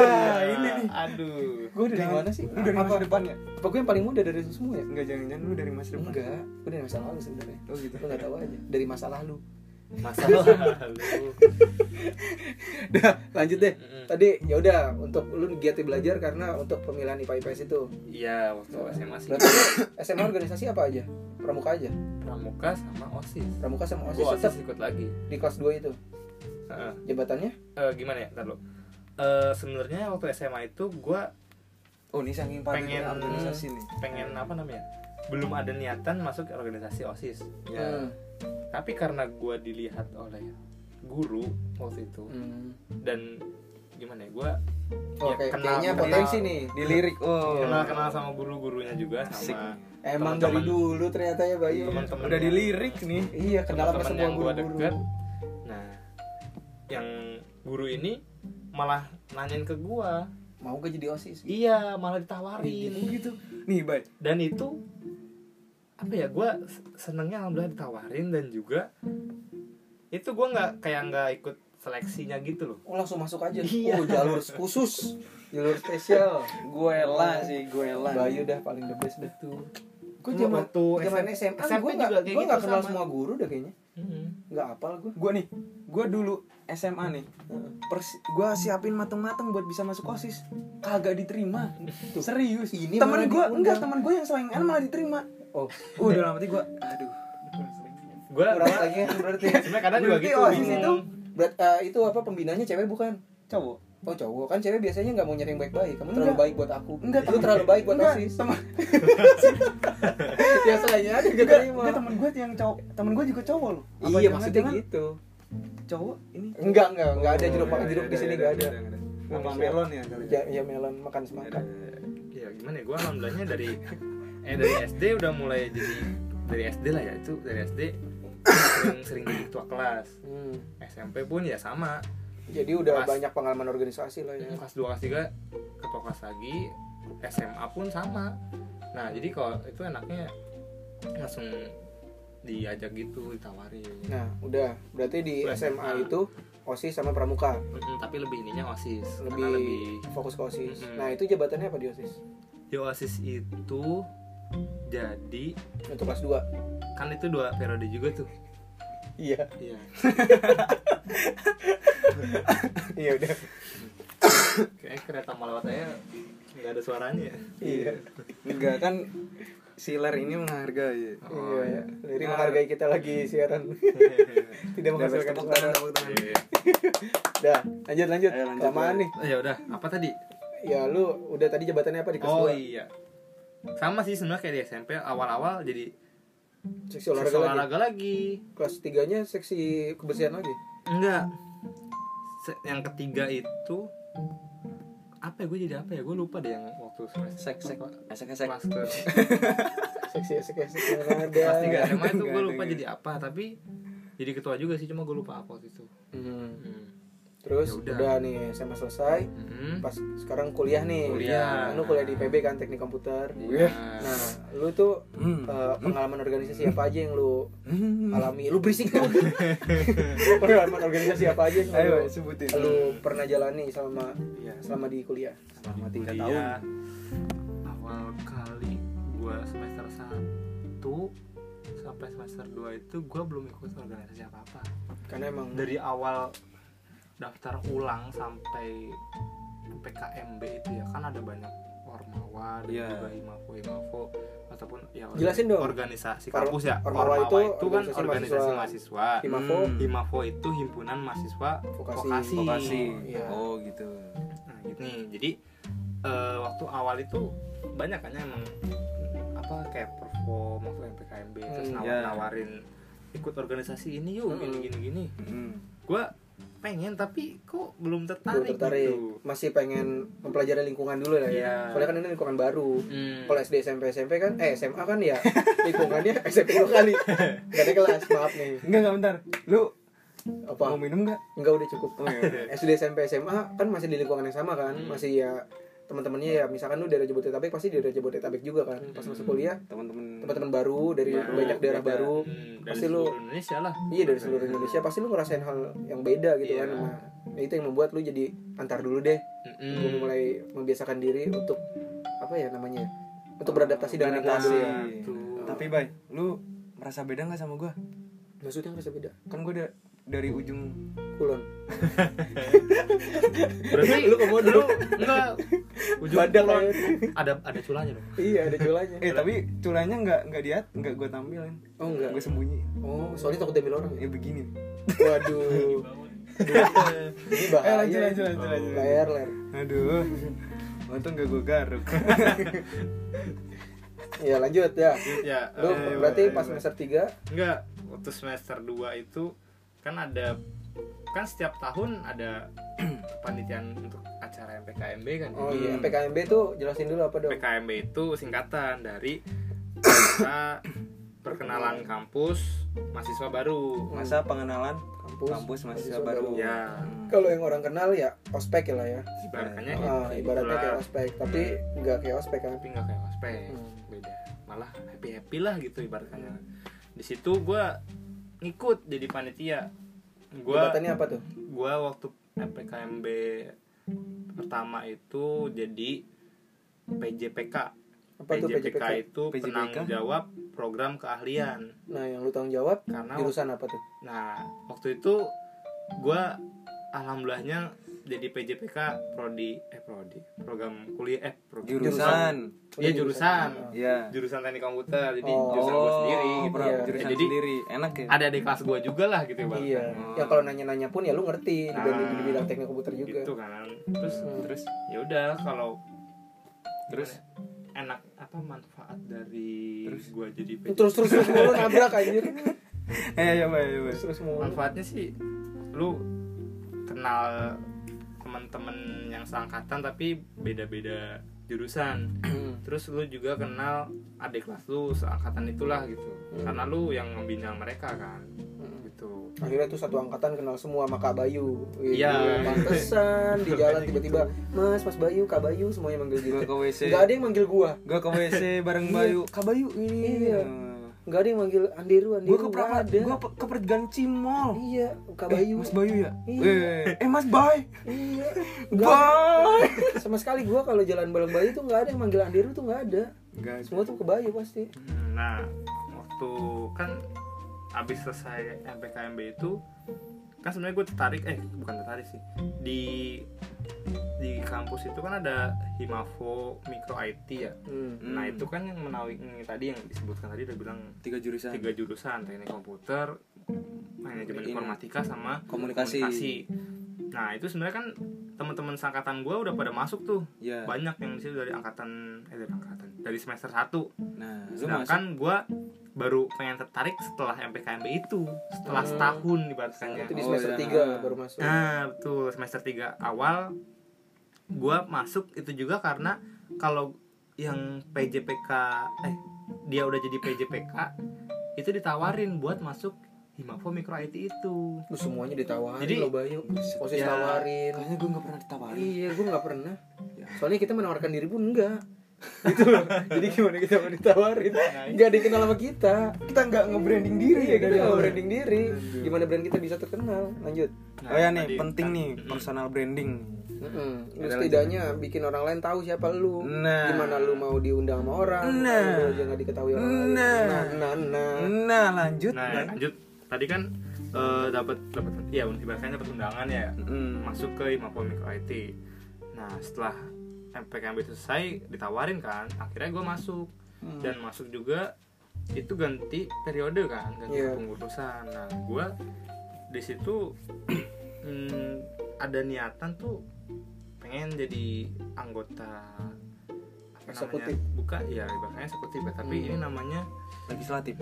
[SPEAKER 3] Aduh.
[SPEAKER 1] Gue dari mana sih?
[SPEAKER 2] Lu dari
[SPEAKER 1] Kan? apa,
[SPEAKER 2] masa depan ya?
[SPEAKER 1] apa gue yang paling muda dari semua ya?
[SPEAKER 2] Enggak jangan-jangan lu dari masa depan.
[SPEAKER 1] Enggak, gue dari masa lalu sebenarnya.
[SPEAKER 2] Oh gitu.
[SPEAKER 1] Lu nggak tahu aja dari masa lalu.
[SPEAKER 3] Masalah lalu.
[SPEAKER 1] Dah, lanjut deh.
[SPEAKER 3] Mm-mm.
[SPEAKER 1] Tadi ya udah untuk lu giat belajar karena untuk pemilihan IPA IPS itu.
[SPEAKER 3] Iya, waktu SMA sih
[SPEAKER 1] Berarti lu SMA organisasi apa aja? Pramuka aja.
[SPEAKER 3] pramuka sama OSIS.
[SPEAKER 1] Pramuka sama
[SPEAKER 3] Gua
[SPEAKER 1] OSIS tetap
[SPEAKER 3] Oh, OSIS ikut lagi.
[SPEAKER 1] di kelas 2 itu.
[SPEAKER 3] Heeh.
[SPEAKER 1] Jabatannya?
[SPEAKER 3] Eh, gimana ya? Ntar lu. Eh, sebenarnya waktu SMA itu gua
[SPEAKER 2] Oh, ini saking paling
[SPEAKER 3] Pengen-
[SPEAKER 2] organisasi nih.
[SPEAKER 3] pengen apa namanya? Belum ada niatan masuk organisasi OSIS.
[SPEAKER 2] Ya.
[SPEAKER 1] Hmm.
[SPEAKER 3] tapi karena gue dilihat oleh guru waktu itu
[SPEAKER 1] Hmm.
[SPEAKER 3] dan gimana ya gue
[SPEAKER 1] Oh, kayak- kayaknya potensi nih.
[SPEAKER 2] dilirik oh
[SPEAKER 3] kenal kenal sama guru-gurunya juga sama
[SPEAKER 1] Emang dari
[SPEAKER 3] teman-teman-
[SPEAKER 1] dulu ternyata ya Bayu.
[SPEAKER 3] teman-teman
[SPEAKER 2] udah
[SPEAKER 3] gua.
[SPEAKER 2] dilirik nih
[SPEAKER 1] Iya, kenal sama
[SPEAKER 3] teman-teman
[SPEAKER 1] semua
[SPEAKER 3] yang gue deket
[SPEAKER 1] guru-guru.
[SPEAKER 3] nah yang guru ini malah nanyain ke gue
[SPEAKER 1] Mau gak jadi OSIS?
[SPEAKER 3] iya malah ditawarin
[SPEAKER 2] gitu nih bay
[SPEAKER 3] dan itu apa ya gue senengnya alhamdulillah ditawarin dan juga itu gue nggak kayak nggak ikut seleksinya gitu loh
[SPEAKER 1] Oh, langsung masuk aja.
[SPEAKER 3] Iya.
[SPEAKER 1] Oh, jalur khusus. Jalur spesial.
[SPEAKER 2] gue lah sih gue lah
[SPEAKER 1] Bayu dah paling the best dah.
[SPEAKER 3] betul
[SPEAKER 1] Gue
[SPEAKER 3] Nggak,
[SPEAKER 1] zaman
[SPEAKER 3] waktu
[SPEAKER 1] zaman
[SPEAKER 3] SM
[SPEAKER 1] SMA, gue juga
[SPEAKER 3] juga kayak
[SPEAKER 1] gue nggak
[SPEAKER 3] gitu
[SPEAKER 1] kenal
[SPEAKER 3] sama. Mm-hmm.
[SPEAKER 1] semua guru dah kayaknya.
[SPEAKER 3] Mm-mm.
[SPEAKER 1] Nggak apal gue.
[SPEAKER 2] gue nih gue dulu SMA nih pers gue siapin mateng-mateng buat bisa masuk osis kagak diterima serius
[SPEAKER 1] Ini
[SPEAKER 2] temen
[SPEAKER 1] malah
[SPEAKER 2] gue
[SPEAKER 1] diundang.
[SPEAKER 2] enggak temen gue yang selingan malah diterima
[SPEAKER 1] Oh,
[SPEAKER 2] udah lama gue aduh
[SPEAKER 3] gue
[SPEAKER 1] kurang lagi berarti.
[SPEAKER 3] sebenarnya kadang juga
[SPEAKER 1] Berarti
[SPEAKER 3] gitu
[SPEAKER 1] OSIS
[SPEAKER 3] bingung.
[SPEAKER 1] itu berat, eh, itu apa pembinanya cewek bukan?
[SPEAKER 2] cowok
[SPEAKER 1] Oh cowok kan cewek biasanya nggak mau nyari yang baik-baik. Kamu terlalu
[SPEAKER 2] Enggak.
[SPEAKER 1] baik buat aku.
[SPEAKER 2] Enggak,
[SPEAKER 1] Lu
[SPEAKER 2] temen-
[SPEAKER 1] terlalu baik buat
[SPEAKER 2] enggak,
[SPEAKER 1] osis. Ya,
[SPEAKER 2] temen-
[SPEAKER 1] biasanya ada yang
[SPEAKER 2] enggak,
[SPEAKER 1] terima.
[SPEAKER 2] enggak, temen gue yang cowok temen gue juga cowok loh
[SPEAKER 1] Iya
[SPEAKER 2] Apa jangan-
[SPEAKER 1] maksudnya
[SPEAKER 2] jangan
[SPEAKER 1] gitu.
[SPEAKER 2] cowok ini
[SPEAKER 1] Enggak enggak enggak ada
[SPEAKER 2] Oh,
[SPEAKER 1] jeruk
[SPEAKER 2] iya,
[SPEAKER 1] makan jeruk
[SPEAKER 2] iya,
[SPEAKER 1] di sini
[SPEAKER 2] iya,
[SPEAKER 1] enggak
[SPEAKER 2] iya,
[SPEAKER 1] ada.
[SPEAKER 2] iya, iya.
[SPEAKER 1] Nggak
[SPEAKER 2] Apa
[SPEAKER 1] bisa.
[SPEAKER 2] melon ya kali
[SPEAKER 1] Ya, ya melon makan semangka.
[SPEAKER 3] ya gimana ya gue alhamdulillahnya dari eh dari SD udah mulai jadi dari SD lah ya itu dari SD sering sering jadi ketua kelas
[SPEAKER 1] Hmm.
[SPEAKER 3] SMP pun ya sama
[SPEAKER 1] Jadi udah
[SPEAKER 3] Kelas.
[SPEAKER 1] banyak pengalaman organisasi lah ya.
[SPEAKER 2] Hmm.
[SPEAKER 3] kelas 2 kelas 3 ketua kelas lagi SMA pun sama nah jadi kalau itu enaknya langsung diajak gitu ditawarin
[SPEAKER 1] Nah, udah. Berarti di
[SPEAKER 3] Kelas
[SPEAKER 1] SMA
[SPEAKER 3] SMA.
[SPEAKER 1] itu OSIS sama pramuka.
[SPEAKER 3] Mm-mm, tapi lebih ininya osis
[SPEAKER 1] Lebih,
[SPEAKER 3] karena lebih
[SPEAKER 1] fokus ke OSIS.
[SPEAKER 2] Hmm.
[SPEAKER 3] Mm-mm.
[SPEAKER 1] Nah, itu jabatannya apa di OSIS?
[SPEAKER 3] di osis itu jadi
[SPEAKER 1] Untuk kelas 2.
[SPEAKER 3] kan itu dua periode juga tuh
[SPEAKER 1] Iya.
[SPEAKER 3] iya
[SPEAKER 1] Iya udah.
[SPEAKER 3] Kayaknya kereta melewat aja nggak ada suaranya ya.
[SPEAKER 1] Iya.
[SPEAKER 2] enggak kan siler ini menghargai
[SPEAKER 3] Oh,
[SPEAKER 1] iya.
[SPEAKER 3] iya.
[SPEAKER 1] Dari
[SPEAKER 2] Nah.
[SPEAKER 1] menghargai kita lagi siaran. Tidak menghasilkan
[SPEAKER 2] tepuk
[SPEAKER 1] suara.
[SPEAKER 2] tangan tepuk tangan
[SPEAKER 1] iya. Dah, lanjut lanjut.
[SPEAKER 2] Ayo, lanjut,
[SPEAKER 1] Kelamaan
[SPEAKER 2] ya.
[SPEAKER 1] nih.
[SPEAKER 3] Oh, ya udah, apa tadi?
[SPEAKER 1] Ya lu udah tadi jabatannya apa di kelas
[SPEAKER 3] Oh
[SPEAKER 1] 2?
[SPEAKER 3] iya. Sama sih sebenarnya kayak di SMP awal-awal jadi
[SPEAKER 1] Seksi
[SPEAKER 3] seksi
[SPEAKER 1] olahraga lagi.
[SPEAKER 3] olahraga lagi.
[SPEAKER 1] Kelas 3-nya seksi kebersihan lagi.
[SPEAKER 3] Enggak. Se- yang ketiga itu apa ya gue jadi apa ya gue lupa deh yang waktu semester
[SPEAKER 2] sek sek
[SPEAKER 3] apa?
[SPEAKER 2] sek sek
[SPEAKER 3] kelas ke
[SPEAKER 1] Seksi seksi seksi olahraga.
[SPEAKER 3] kelas tiga SMA itu gue
[SPEAKER 2] Enggak,
[SPEAKER 3] lupa
[SPEAKER 2] enggak.
[SPEAKER 3] jadi apa tapi jadi ketua juga sih cuma gue lupa apa waktu itu
[SPEAKER 1] Hmm.
[SPEAKER 3] hmm.
[SPEAKER 1] Terus
[SPEAKER 3] Ya udah.
[SPEAKER 1] udah nih SMA selesai.
[SPEAKER 3] Mm-mm.
[SPEAKER 1] Pas sekarang kuliah nih.
[SPEAKER 3] Kuliah.
[SPEAKER 1] Lu kuliah di PB kan teknik komputer.
[SPEAKER 3] Iya.
[SPEAKER 1] Nah, lu tuh
[SPEAKER 2] Hmm.
[SPEAKER 1] eh, pengalaman organisasi apa aja yang lu
[SPEAKER 2] Hmm.
[SPEAKER 1] alami? Lu berisik tuh. pengalaman organisasi apa aja yang
[SPEAKER 2] ayo
[SPEAKER 1] lu,
[SPEAKER 2] sebutin
[SPEAKER 1] lu pernah jalani selama
[SPEAKER 3] Iya.
[SPEAKER 1] selama di kuliah?
[SPEAKER 2] selama
[SPEAKER 3] Di
[SPEAKER 2] tiga tahun
[SPEAKER 3] kuliah, awal kali gua semester 1 sampai semester 2 itu gua belum ikut organisasi apa apa
[SPEAKER 1] Hmm. Karena emang
[SPEAKER 3] dari awal daftar ulang sampai PKMB itu ya kan ada banyak ormawa dan
[SPEAKER 2] Iya.
[SPEAKER 3] juga himafo himafo ataupun ya orga-
[SPEAKER 1] Jelasin dong.
[SPEAKER 3] organisasi
[SPEAKER 1] Or-
[SPEAKER 3] kampus ya
[SPEAKER 1] Ormawa
[SPEAKER 3] ormawa,
[SPEAKER 1] itu
[SPEAKER 3] itu, kan
[SPEAKER 1] organisasi
[SPEAKER 3] organisasi
[SPEAKER 1] mahasiswa.
[SPEAKER 3] mahasiswa,
[SPEAKER 1] Himafo
[SPEAKER 2] Hmm.
[SPEAKER 3] himafo itu himpunan mahasiswa
[SPEAKER 1] Vokasi.
[SPEAKER 2] vokasi
[SPEAKER 1] Iya.
[SPEAKER 2] oh gitu
[SPEAKER 3] Nah, gitu nih. Jadi eh, waktu awal itu banyak kan ya emang apa kayak perform waktu yang PKMB terus
[SPEAKER 1] Hmm,
[SPEAKER 3] nawar
[SPEAKER 2] ya.
[SPEAKER 3] nawarin ikut organisasi ini yuk
[SPEAKER 1] Hmm.
[SPEAKER 3] gini gini gini.
[SPEAKER 2] Hmm.
[SPEAKER 3] Gua pengen tapi kok belum
[SPEAKER 1] belum
[SPEAKER 3] tertarik,
[SPEAKER 1] tertarik.
[SPEAKER 3] gitu.
[SPEAKER 1] Masih pengen mempelajari lingkungan dulu lah ya.
[SPEAKER 3] Iya.
[SPEAKER 1] Soalnya kan ini lingkungan baru.
[SPEAKER 3] Hmm.
[SPEAKER 1] Kalau SD SMP SMP kan eh SMA kan ya lingkungannya SMP dua kali. Gak ada kelas, maaf nih.
[SPEAKER 2] enggak enggak bentar lu
[SPEAKER 1] Apa?
[SPEAKER 2] mau minum enggak
[SPEAKER 1] Enggak udah cukup.
[SPEAKER 2] Oh, iya, iya.
[SPEAKER 1] SD SMP SMA kan masih di lingkungan yang sama kan,
[SPEAKER 3] Hmm.
[SPEAKER 1] masih ya teman-temannya ya misalkan lu dari Jabodetabek pasti dari Jabodetabek juga kan. Pas
[SPEAKER 3] Hmm.
[SPEAKER 1] masuk kuliah
[SPEAKER 2] teman-teman
[SPEAKER 1] teman-teman baru dari
[SPEAKER 3] Baru,
[SPEAKER 1] banyak daerah
[SPEAKER 2] beda.
[SPEAKER 1] baru.
[SPEAKER 3] Hmm, dari
[SPEAKER 1] Pasti lu-
[SPEAKER 3] seluruh Indonesia lah.
[SPEAKER 1] Iya dari seluruh Indonesia pasti lu ngerasain hal yang beda gitu
[SPEAKER 3] Iya.
[SPEAKER 1] kan. Nah, itu yang membuat lu jadi antar dulu deh,
[SPEAKER 3] Mm-mm.
[SPEAKER 2] Hmm.
[SPEAKER 1] Lu mulai membiasakan diri untuk apa ya namanya? Untuk beradaptasi dengan
[SPEAKER 3] Nah,
[SPEAKER 1] lingkungan dulu.
[SPEAKER 2] Beradaptasi.
[SPEAKER 3] tuh.
[SPEAKER 2] tapi bay lu merasa beda nggak sama gue
[SPEAKER 1] Maksudnya ngerasa beda.
[SPEAKER 2] kan gue da- dari ujung
[SPEAKER 1] Kulon.
[SPEAKER 3] berarti lu kemudian lu enggak ujung
[SPEAKER 1] Badak
[SPEAKER 3] kulon.
[SPEAKER 1] aja.
[SPEAKER 3] ada ada culanya loh.
[SPEAKER 1] iya, ada culanya.
[SPEAKER 2] eh tapi culanya nggak nggak diat nggak gue tampilin
[SPEAKER 1] Oh enggak.
[SPEAKER 2] gue sembunyi
[SPEAKER 1] Oh, soalnya takut diambil orang. ya?
[SPEAKER 2] ya begini
[SPEAKER 1] Waduh. Ini bahaya.
[SPEAKER 2] Eh,
[SPEAKER 1] Oh,
[SPEAKER 2] lanjut, lanjut, lanjut, lanjut.
[SPEAKER 1] Layar, layar.
[SPEAKER 2] aduh untung gak gue garuk
[SPEAKER 1] Ya lanjut ya.
[SPEAKER 3] Ya,
[SPEAKER 1] Lu
[SPEAKER 3] eh,
[SPEAKER 1] berarti
[SPEAKER 2] iya,
[SPEAKER 1] ya. pas
[SPEAKER 2] iya.
[SPEAKER 1] semester 3
[SPEAKER 3] enggak waktu semester 2 itu kan ada kan setiap tahun ada panitian untuk acara MPKMB kan
[SPEAKER 1] Oh
[SPEAKER 3] ya?
[SPEAKER 1] iya,
[SPEAKER 2] Hmm.
[SPEAKER 1] PKMB tuh jelasin dulu apa dong?
[SPEAKER 3] PKMB itu singkatan dari Pesta perkenalan kampus mahasiswa baru
[SPEAKER 2] masa pengenalan
[SPEAKER 1] Kampus.
[SPEAKER 2] kampus mahasiswa
[SPEAKER 1] mahasiswa
[SPEAKER 2] baru
[SPEAKER 1] baru.
[SPEAKER 3] ya
[SPEAKER 2] Hmm.
[SPEAKER 1] Kalau yang orang kenal ya ospek ya lah ya.
[SPEAKER 3] ibaratnya
[SPEAKER 2] Ya,
[SPEAKER 1] Ah,
[SPEAKER 3] itu-
[SPEAKER 1] ibaratnya
[SPEAKER 3] itulah. Nah.
[SPEAKER 1] kayak ospek, tapi nggak kayak ospek kan.
[SPEAKER 3] tapi nggak kayak ospek
[SPEAKER 1] Hmm.
[SPEAKER 3] beda malah happy happy lah gitu ibaratnya di situ gua ngikut jadi panitia gua
[SPEAKER 1] Kegiatannya apa tuh?
[SPEAKER 3] gua waktu PKMB pertama itu jadi PJPK
[SPEAKER 1] Apa tuh PJPK?
[SPEAKER 3] itu
[SPEAKER 2] PJPK?
[SPEAKER 3] penanggung jawab program keahlian
[SPEAKER 1] Nah, yang lu tanggung jawab
[SPEAKER 3] karena
[SPEAKER 1] jurusan apa tuh?
[SPEAKER 3] nah waktu itu gua alhamdulillahnya jadi PJPK prodi eh prodi program kuliah eh program
[SPEAKER 2] jurusan
[SPEAKER 3] Iya, jurusan.
[SPEAKER 2] ya
[SPEAKER 3] jurusan teknik komputer jadi
[SPEAKER 1] Oh. iya,
[SPEAKER 3] jurusan gue sendiri gitu
[SPEAKER 1] program
[SPEAKER 3] Ya,
[SPEAKER 2] jurusan
[SPEAKER 3] jadi
[SPEAKER 2] sendiri enak ya
[SPEAKER 3] ada di kelas gue juga lah gitu
[SPEAKER 1] Oh,
[SPEAKER 3] bang
[SPEAKER 1] Iya. Ya kalau nanya-nanya pun ya lu ngerti dibanding di bidang teknik komputer juga.
[SPEAKER 3] gitu kan terus
[SPEAKER 1] Hmm.
[SPEAKER 3] terus ya udah kalau
[SPEAKER 2] Terus?
[SPEAKER 3] gimana, enak apa manfaat dari
[SPEAKER 2] Terus?
[SPEAKER 3] gue jadi PJ?
[SPEAKER 1] Terus terus terus mulu nabrak anjir.
[SPEAKER 2] eh ya pak ya
[SPEAKER 1] Terus terus mulu.
[SPEAKER 3] manfaatnya sih lu kenal teman-teman yang seangkatan tapi beda-beda jurusan
[SPEAKER 1] Hmm.
[SPEAKER 3] terus lu juga kenal adik kelas lu seangkatan itulah gitu karena lu yang membina mereka kan gitu
[SPEAKER 1] Akhirnya tuh satu angkatan kenal semua sama Kak Bayu. Wih,
[SPEAKER 3] Iya.
[SPEAKER 1] Pantesan di jalan
[SPEAKER 3] Makanya
[SPEAKER 1] tiba-tiba, "Mas, Mas Bayu, Kak Bayu," semuanya manggil gitu.
[SPEAKER 2] gua ke wc
[SPEAKER 1] Enggak ada yang manggil gua.
[SPEAKER 2] gua ke wc bareng Bayu kak Bayu ini
[SPEAKER 1] Iya. Enggak ada yang manggil Andiru, Andiru.
[SPEAKER 2] gua ke
[SPEAKER 1] nggak
[SPEAKER 2] Prapad
[SPEAKER 1] ada.
[SPEAKER 2] gua pe- ke pertigaan Cimol
[SPEAKER 1] Iya, Kak
[SPEAKER 2] Eh,
[SPEAKER 1] Bayu.
[SPEAKER 2] Mas Bayu ya?
[SPEAKER 1] Iya.
[SPEAKER 2] Eh, eh, Mas Bay.
[SPEAKER 1] Iya. Enggak.
[SPEAKER 2] Bay.
[SPEAKER 1] Sama sekali gua kalau jalan bareng Bayu tuh enggak ada yang manggil Andiru tuh enggak ada.
[SPEAKER 2] Guys,
[SPEAKER 1] Semua tuh ke Bayu pasti.
[SPEAKER 3] Hmm, Nah, waktu kan abis selesai MPKMB itu kan sebenarnya gue tertarik eh bukan tertarik sih di di kampus itu kan ada Himafo Micro IT ya.
[SPEAKER 1] Hmm.
[SPEAKER 3] Nah
[SPEAKER 2] Hmm.
[SPEAKER 3] itu kan yang menawi yang tadi yang disebutkan tadi udah bilang
[SPEAKER 2] tiga jurusan.
[SPEAKER 3] tiga jurusan teknik komputer, manajemen
[SPEAKER 2] Ini.
[SPEAKER 3] informatika sama
[SPEAKER 2] Iya. Komunikasi.
[SPEAKER 3] Nah itu sebenarnya kan teman-teman seangkatan gue udah pada masuk tuh
[SPEAKER 2] Ya.
[SPEAKER 3] banyak yang di situ dari angkatan eh dari angkatan dari semester 1
[SPEAKER 2] Nah, lu masuk
[SPEAKER 3] sedangkan gue baru pengen tertarik setelah MPKMB itu setelah
[SPEAKER 1] Hmm.
[SPEAKER 3] setahun
[SPEAKER 1] Itu di
[SPEAKER 3] ibaratkannya
[SPEAKER 2] Oh,
[SPEAKER 1] semester
[SPEAKER 2] iya.
[SPEAKER 1] 3 baru masuk.
[SPEAKER 3] nah betul semester 3 awal gue masuk itu juga karena kalau yang PJPK eh dia udah jadi PJPK itu ditawarin buat masuk Himafo Micro IT itu
[SPEAKER 1] Lu semuanya ditawarin
[SPEAKER 3] Jadi-
[SPEAKER 1] lo Bayu. Posisi
[SPEAKER 3] Ya.
[SPEAKER 1] tawarin.
[SPEAKER 2] kayaknya gue gak pernah ditawarin.
[SPEAKER 1] Iya, gue nggak pernah. Soalnya kita menawarkan diri pun enggak. Ya. Gitu loh. Jadi gimana kita mau ditawarin?
[SPEAKER 3] Nah,
[SPEAKER 1] Enggak dikenal sama kita. Kita nggak nge-branding diri ya, kita nggak branding diri. Gimana brand kita bisa terkenal? Lanjut.
[SPEAKER 3] Nah,
[SPEAKER 2] Oh ya nih,
[SPEAKER 3] tadi
[SPEAKER 2] penting
[SPEAKER 3] kan-
[SPEAKER 2] nih
[SPEAKER 3] Mm-mm.
[SPEAKER 2] personal branding.
[SPEAKER 1] Heeh. Lu
[SPEAKER 2] Ada
[SPEAKER 1] setidaknya bikin orang lain tahu siapa lu.
[SPEAKER 2] Nah.
[SPEAKER 1] Gimana lu mau diundang sama orang?
[SPEAKER 2] Nah.
[SPEAKER 1] Lu aja nggak diketahui orang lain.
[SPEAKER 2] Nah.
[SPEAKER 1] nah, nah.
[SPEAKER 2] Nah, lanjut.
[SPEAKER 3] nah
[SPEAKER 2] Nah.
[SPEAKER 3] lanjut tadi kan eh, dapat dapat ya ibaratnya dapat undangan ya
[SPEAKER 2] Mm.
[SPEAKER 3] masuk ke Imapol Micro IT. Nah setelah MPKMB itu selesai ditawarin kan, akhirnya gue masuk
[SPEAKER 1] Hmm.
[SPEAKER 3] dan masuk juga itu ganti periode kan, ganti
[SPEAKER 1] Iya.
[SPEAKER 3] pengurusan. Nah gue di situ hmm, ada niatan tuh pengen jadi anggota apa
[SPEAKER 1] Eksekutif.
[SPEAKER 3] namanya bukan ya ibaratnya eksekutif ya tapi
[SPEAKER 1] Hmm.
[SPEAKER 3] ini namanya
[SPEAKER 2] Legislatif.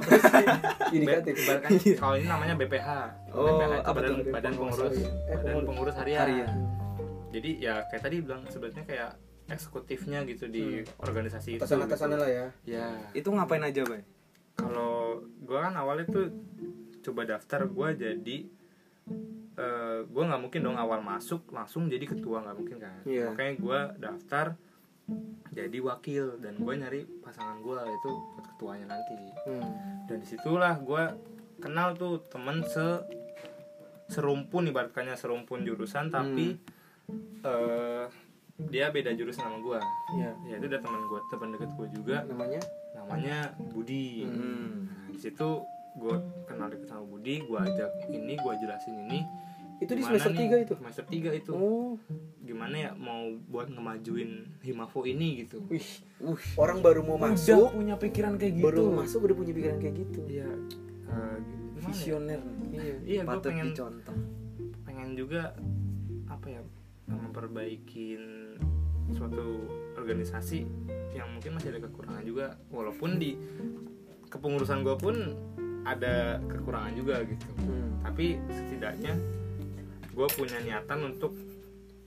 [SPEAKER 3] Nah.
[SPEAKER 1] Indikatif. Iya.
[SPEAKER 3] ibaratkan kalau ini namanya BPH
[SPEAKER 2] Oh,
[SPEAKER 3] BPH itu
[SPEAKER 2] apa
[SPEAKER 3] badan,
[SPEAKER 1] tuh?
[SPEAKER 3] badan pengurus
[SPEAKER 1] Eh,
[SPEAKER 3] badan
[SPEAKER 1] pengurus.
[SPEAKER 3] pengurus harian,
[SPEAKER 2] Harian.
[SPEAKER 3] jadi ya kayak tadi bilang sebetulnya kayak eksekutifnya gitu di organisasi itu
[SPEAKER 1] Hmm. Atasan-atasannya lah ya.
[SPEAKER 3] gitu. ya
[SPEAKER 2] Itu ngapain aja, Bay?
[SPEAKER 3] kalau gua kan awalnya tuh coba daftar gua jadi eh gua nggak mungkin dong awal masuk langsung jadi ketua nggak mungkin kan
[SPEAKER 1] Iya.
[SPEAKER 3] makanya gua daftar jadi wakil dan gua nyari pasangan gua itu buat ketuanya nanti
[SPEAKER 1] Hmm.
[SPEAKER 3] dan disitulah gua kenal tuh temen se serumpun ibaratkannya serumpun jurusan tapi
[SPEAKER 1] Hmm.
[SPEAKER 3] eh dia beda jurusan sama gua
[SPEAKER 1] Iya.
[SPEAKER 3] ya itu udah teman gua teman deket gua juga
[SPEAKER 1] Namanya
[SPEAKER 3] namanya Budi
[SPEAKER 2] Hmm.
[SPEAKER 3] nah, di situ gua kenal deket sama Budi gua ajak ini gua jelasin ini
[SPEAKER 1] itu di
[SPEAKER 3] Gimana
[SPEAKER 1] semester
[SPEAKER 3] nih?
[SPEAKER 1] 3 itu.
[SPEAKER 3] semester 3 itu
[SPEAKER 1] Oh.
[SPEAKER 3] gimana ya mau buat ngemajuin Himafo ini gitu
[SPEAKER 1] Wih,
[SPEAKER 2] Uh,
[SPEAKER 1] orang baru mau
[SPEAKER 2] masuk
[SPEAKER 1] masuk,
[SPEAKER 2] punya pikiran kayak gitu.
[SPEAKER 1] baru masuk udah punya pikiran kayak gitu.
[SPEAKER 3] iya eh, gimana ya?
[SPEAKER 2] Visioner nih.
[SPEAKER 1] Iya.
[SPEAKER 3] iya gua
[SPEAKER 2] Patut
[SPEAKER 3] pengen
[SPEAKER 2] dicontoh.
[SPEAKER 3] pengen juga apa ya memperbaikin suatu organisasi yang mungkin masih ada kekurangan juga walaupun di kepengurusan gue pun ada kekurangan juga gitu
[SPEAKER 1] Hmm.
[SPEAKER 3] tapi setidaknya gue punya niatan untuk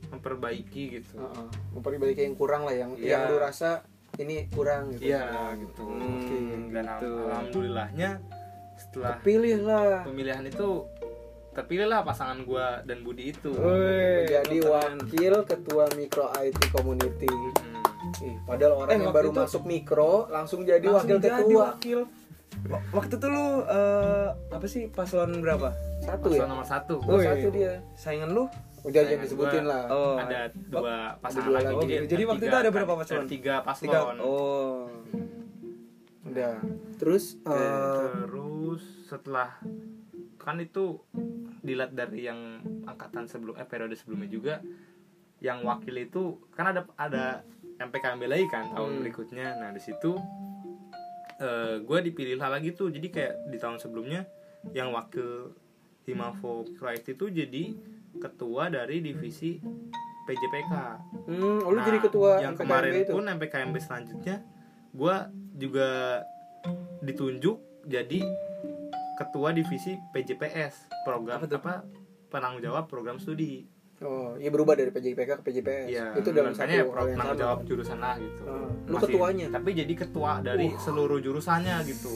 [SPEAKER 3] memperbaiki gitu
[SPEAKER 1] Heeh. Memperbaiki yang kurang lah yang
[SPEAKER 3] Iya.
[SPEAKER 1] yang lu rasa ini kurang gitu.
[SPEAKER 3] iya gitu
[SPEAKER 1] Hmm,
[SPEAKER 3] dan
[SPEAKER 2] gitu.
[SPEAKER 3] al- alhamdulillahnya setelah
[SPEAKER 1] Pilih lah.
[SPEAKER 3] pemilihan itu terpilihlah pasangan gue dan Budi itu Hmm,
[SPEAKER 2] Woi,
[SPEAKER 1] menjadi
[SPEAKER 2] keren.
[SPEAKER 1] wakil ketua mikro IT community.
[SPEAKER 3] Hmm.
[SPEAKER 1] Ih, padahal orang
[SPEAKER 2] Eh,
[SPEAKER 1] yang
[SPEAKER 2] waktu
[SPEAKER 1] baru
[SPEAKER 2] itu-
[SPEAKER 1] masuk mikro langsung jadi
[SPEAKER 2] Langsung
[SPEAKER 1] wakil
[SPEAKER 2] jadi
[SPEAKER 1] ketua.
[SPEAKER 2] wakil. Wa- Waktu itu lu eh, apa sih paslon berapa?
[SPEAKER 1] Satu ya.
[SPEAKER 3] Pasangan nomor satu
[SPEAKER 1] Nomor
[SPEAKER 2] Woi.
[SPEAKER 1] satu dia.
[SPEAKER 2] Saingan lu?
[SPEAKER 1] Udah
[SPEAKER 3] Saingan
[SPEAKER 1] jangan disebutin
[SPEAKER 3] gua.
[SPEAKER 1] lah.
[SPEAKER 2] Oh,
[SPEAKER 3] Nah, ada dua pasangan
[SPEAKER 1] dua
[SPEAKER 3] lagi
[SPEAKER 1] lagi.
[SPEAKER 2] Jadi waktu itu ada berapa paslon?
[SPEAKER 3] ada tiga paslon
[SPEAKER 2] tiga. Oh.
[SPEAKER 1] Udah. Terus eh,
[SPEAKER 3] terus setelah kan itu dilihat dari yang angkatan sebelum eh periode sebelumnya juga yang wakil itu kan ada ada MPKMB lagi kan tahun
[SPEAKER 1] Hmm.
[SPEAKER 3] berikutnya nah di situ eh, gue dipilih lah lagi tuh jadi kayak di tahun sebelumnya yang wakil Himafo Proyek itu jadi ketua dari divisi PJPK
[SPEAKER 1] hmm, lu
[SPEAKER 3] Nah,
[SPEAKER 1] jadi ketua
[SPEAKER 3] yang
[SPEAKER 1] MPKMB
[SPEAKER 3] kemarin
[SPEAKER 1] itu. Hmm.
[SPEAKER 3] pun MPKMB selanjutnya gue juga ditunjuk jadi ketua divisi PJPS program
[SPEAKER 2] Apa
[SPEAKER 3] apa,
[SPEAKER 2] tuh?
[SPEAKER 3] penanggung jawab program studi
[SPEAKER 1] Oh, iya berubah dari PJPK ke PJPS.
[SPEAKER 3] Iya,
[SPEAKER 1] itu dalam satu
[SPEAKER 3] makanya ya, pro-
[SPEAKER 1] hal yang
[SPEAKER 3] penanggung
[SPEAKER 1] sama.
[SPEAKER 3] jawab jurusan lah gitu
[SPEAKER 1] Ah, lu
[SPEAKER 3] Masih-
[SPEAKER 1] ketuanya?
[SPEAKER 3] tapi jadi ketua dari seluruh jurusannya gitu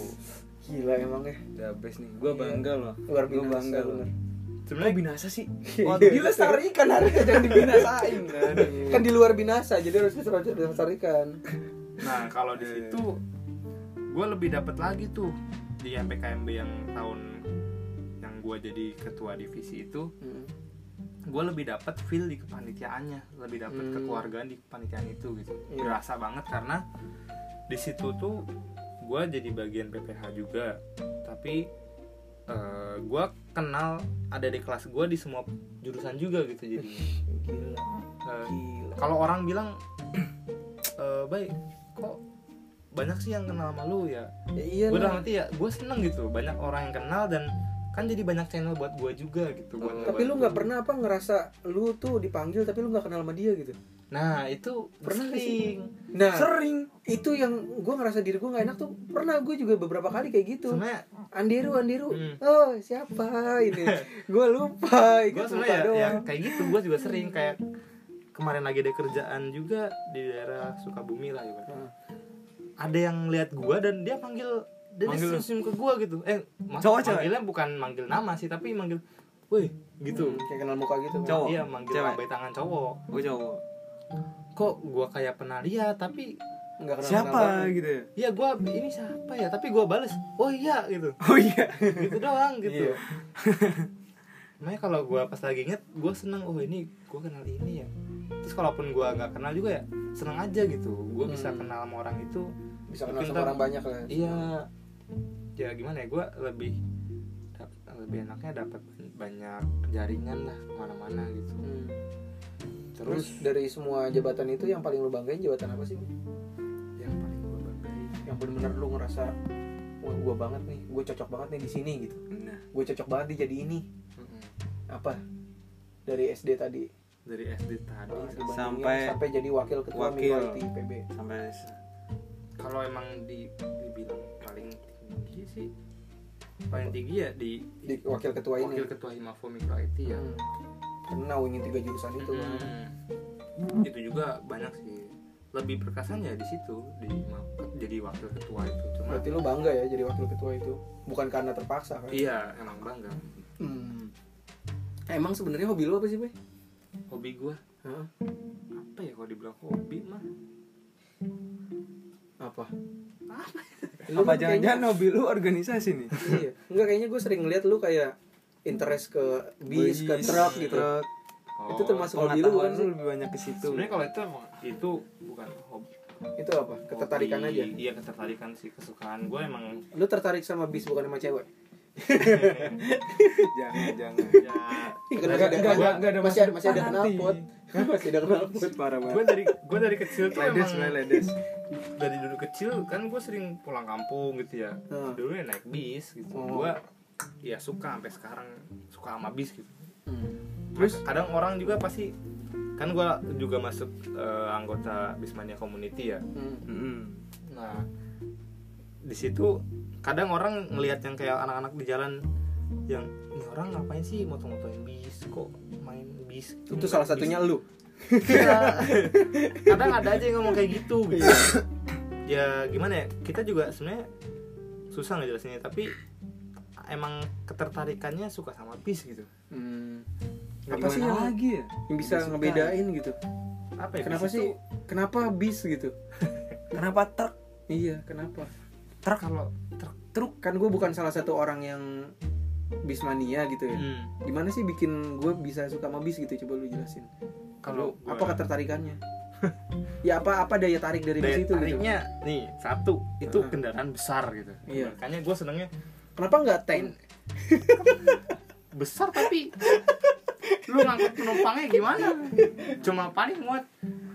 [SPEAKER 1] Gila emang ya.
[SPEAKER 2] The best nih. Gua bangga loh.
[SPEAKER 1] Luar
[SPEAKER 2] Gua
[SPEAKER 1] biasa,
[SPEAKER 2] bangga loh.
[SPEAKER 1] bener.
[SPEAKER 2] Kok
[SPEAKER 3] sebenarnya
[SPEAKER 2] binasa sih?
[SPEAKER 1] Waduh,
[SPEAKER 2] Waduh,
[SPEAKER 1] dilestarikan harusnya jangan dibinasain.
[SPEAKER 3] Iya.
[SPEAKER 2] Aduh.
[SPEAKER 1] kan di luar binasa, jadi harus dilestarikan.
[SPEAKER 3] nah kalau di situ gue lebih dapat lagi tuh di MPKMB yang tahun yang gue jadi ketua divisi itu
[SPEAKER 1] Hmm.
[SPEAKER 3] gue lebih dapat feel di kepanitiaannya lebih dapat
[SPEAKER 1] Hmm.
[SPEAKER 3] kekeluargaan di kepanitiaan itu gitu
[SPEAKER 1] Iya.
[SPEAKER 3] berasa banget karena di situ tuh gue jadi bagian PPH juga tapi gue kenal ada di kelas gue di semua jurusan juga gitu jadi
[SPEAKER 1] Gila. Gila.
[SPEAKER 3] kalau orang bilang eh baik kok banyak sih yang kenal sama lu ya
[SPEAKER 1] Ya, iya
[SPEAKER 3] gue
[SPEAKER 1] lah.
[SPEAKER 3] dalam hati ya gue seneng gitu banyak orang yang kenal dan kan jadi banyak channel buat gue juga gitu buat
[SPEAKER 1] Oh. Tapi lu
[SPEAKER 3] ngebantu.
[SPEAKER 1] nggak pernah apa ngerasa lu tuh dipanggil tapi lu nggak kenal sama dia gitu.
[SPEAKER 3] nah itu
[SPEAKER 1] Pernah nggak sih?
[SPEAKER 3] sering
[SPEAKER 1] Nah,
[SPEAKER 2] sering.
[SPEAKER 1] itu yang gue ngerasa diri gue nggak enak tuh pernah gue juga beberapa kali kayak gitu.
[SPEAKER 3] sebenarnya
[SPEAKER 1] Andiru, Andiru,
[SPEAKER 3] Hmm.
[SPEAKER 1] oh siapa ini? gue lupa,
[SPEAKER 3] gue
[SPEAKER 1] ingat muka
[SPEAKER 3] sebenarnya ya, ya
[SPEAKER 1] doang.
[SPEAKER 3] kayak gitu gue juga sering kayak kemarin lagi ada kerjaan juga di daerah Sukabumi lah gitu.
[SPEAKER 1] Hmm.
[SPEAKER 3] ada yang lihat gue dan dia panggil dia
[SPEAKER 2] Manggil lu.
[SPEAKER 3] senyum ke gue gitu eh mas,
[SPEAKER 2] Cowok, cewek?
[SPEAKER 3] manggilnya bukan manggil nama sih tapi manggil woi gitu
[SPEAKER 1] Kayak kenal muka gitu. kan.
[SPEAKER 2] Cowok?
[SPEAKER 3] iya manggil
[SPEAKER 2] Cewek?
[SPEAKER 3] sampai tangan cowok
[SPEAKER 2] Gua cowok.
[SPEAKER 3] kok gue kayak pernah lihat tapi
[SPEAKER 1] Nggak kenal
[SPEAKER 2] Siapa gitu ya?
[SPEAKER 3] ya gue ini siapa ya tapi gue bales oh iya gitu
[SPEAKER 2] Oh iya.
[SPEAKER 3] gitu doang
[SPEAKER 1] Iya.
[SPEAKER 3] gitu makanya kalau gua pas lagi inget gue seneng oh ini gua kenal ini ya terus kalaupun gua nggak kenal juga ya seneng aja gitu gue bisa
[SPEAKER 1] Hmm.
[SPEAKER 3] kenal sama orang itu
[SPEAKER 1] Bisa kenal
[SPEAKER 3] Mungkin
[SPEAKER 1] sama
[SPEAKER 3] kan-
[SPEAKER 1] orang banyak lah.
[SPEAKER 3] iya ya gimana ya gue lebih dap- lebih enaknya dapat banyak jaringan lah kemana-mana gitu
[SPEAKER 1] Hmm. Terus
[SPEAKER 3] terus
[SPEAKER 1] dari semua jabatan itu yang paling lu banggain jabatan apa sih?
[SPEAKER 3] yang paling gue banggain
[SPEAKER 1] Yang bener-bener lu ngerasa wah gue banget nih, gue cocok banget nih di sini gitu.
[SPEAKER 2] Nah,
[SPEAKER 1] Gue cocok banget nih jadi ini.
[SPEAKER 3] mm-mm,
[SPEAKER 1] Apa? Dari SD tadi
[SPEAKER 3] dari SD tadi
[SPEAKER 1] dibandingin
[SPEAKER 2] Sampai-
[SPEAKER 1] sampai jadi wakil ketua
[SPEAKER 2] wakil.
[SPEAKER 1] minority PB.
[SPEAKER 2] sampai
[SPEAKER 3] kalau emang di, dibilang paling tinggi sih paling tinggi ya di,
[SPEAKER 1] Di wakil ketua ini.
[SPEAKER 3] wakil ketua Himafo Mikro IT ya
[SPEAKER 1] Hmm. Karena wingin tiga jurusan itu. kan.
[SPEAKER 3] Mm. itu juga banyak sih lebih berkesan ya di situ di ma- jadi wakil ketua itu cuma
[SPEAKER 1] Berarti lu bangga ya jadi wakil ketua itu. Bukan karena terpaksa kan?
[SPEAKER 3] iya emang bangga
[SPEAKER 1] Hmm. Eh, Emang sebenarnya hobi lu apa sih, Boy?
[SPEAKER 3] hobi gua
[SPEAKER 1] Hah?
[SPEAKER 3] apa ya kalau dibilang hobi mah
[SPEAKER 1] Apa? Lu
[SPEAKER 2] Apa
[SPEAKER 1] kan
[SPEAKER 2] jangan-jangan hobi lu organisasi nih?
[SPEAKER 1] iya enggak kayaknya gue sering ngeliat lu kayak interest ke bis ke
[SPEAKER 2] Bis,
[SPEAKER 1] truk gitu
[SPEAKER 2] truk.
[SPEAKER 1] itu termasuk hobi lu
[SPEAKER 2] Pengetahuan
[SPEAKER 1] kan sih?
[SPEAKER 2] lu lebih banyak ke situ.
[SPEAKER 3] Oh, sebenarnya kalau itu emang itu bukan hobi
[SPEAKER 1] itu apa ketertarikan
[SPEAKER 3] hobi.
[SPEAKER 1] aja
[SPEAKER 3] iya ketertarikan sih kesukaan gua emang
[SPEAKER 1] lu tertarik sama bis bukan sama cewek
[SPEAKER 2] jangan jangan.
[SPEAKER 3] ya
[SPEAKER 1] Enggak,
[SPEAKER 2] enggak, enggak,
[SPEAKER 1] gua-
[SPEAKER 2] enggak ada
[SPEAKER 1] masih
[SPEAKER 2] masa
[SPEAKER 1] ada masih ada
[SPEAKER 2] depan nanti.
[SPEAKER 1] knalpot masih ada knalpot
[SPEAKER 2] Parah
[SPEAKER 3] gue
[SPEAKER 2] banget.
[SPEAKER 3] dari gue dari kecil tuh
[SPEAKER 2] Ledes,
[SPEAKER 3] emang
[SPEAKER 2] gue ledes.
[SPEAKER 3] dari dulu kecil kan gue sering pulang kampung gitu ya
[SPEAKER 1] Hmm.
[SPEAKER 3] dulu ya naik bis gitu
[SPEAKER 1] Hmm.
[SPEAKER 3] gue ya suka sampai sekarang suka sama bis gitu
[SPEAKER 1] Hmm.
[SPEAKER 3] terus kadang orang juga pasti kan gue juga masuk eh, anggota bismania community ya
[SPEAKER 1] Hmm.
[SPEAKER 2] Mm-mm.
[SPEAKER 3] nah di situ kadang orang ngelihat yang kayak anak-anak di jalan yang ini orang ngapain sih motong-motongin bis kok main bis gitu.
[SPEAKER 1] itu salah satunya lu
[SPEAKER 3] Iya. kadang ada aja yang ngomong kayak gitu gitu ya gimana ya kita juga sebenarnya susah ngejelasinnya tapi emang ketertarikannya suka sama bis gitu
[SPEAKER 1] Hmm,
[SPEAKER 3] Ya
[SPEAKER 1] apa sih
[SPEAKER 3] gimana
[SPEAKER 1] yang
[SPEAKER 2] lagi ya
[SPEAKER 1] yang bisa
[SPEAKER 2] Suka.
[SPEAKER 1] ngebedain gitu
[SPEAKER 3] apa ya
[SPEAKER 1] kenapa
[SPEAKER 3] bis
[SPEAKER 1] sih
[SPEAKER 3] itu
[SPEAKER 1] kenapa bis gitu
[SPEAKER 2] kenapa truk
[SPEAKER 1] iya kenapa
[SPEAKER 2] truk
[SPEAKER 3] kalau truk
[SPEAKER 1] truk kan gue bukan salah satu orang yang bismania gitu ya
[SPEAKER 3] Hmm.
[SPEAKER 1] gimana sih bikin gue bisa suka sama bis gitu coba lu jelasin
[SPEAKER 3] Kalau
[SPEAKER 1] kalau
[SPEAKER 3] gua-
[SPEAKER 1] apa ketertarikannya ya apa apa daya tarik dari
[SPEAKER 3] daya
[SPEAKER 1] bis itu gitu
[SPEAKER 3] tariknya nih satu itu
[SPEAKER 1] Heeh.
[SPEAKER 3] kendaraan besar gitu
[SPEAKER 1] Iya.
[SPEAKER 3] makanya gue senengnya
[SPEAKER 1] kenapa nggak tank
[SPEAKER 3] besar tapi lu ngangkat penumpangnya gimana cuma paling muat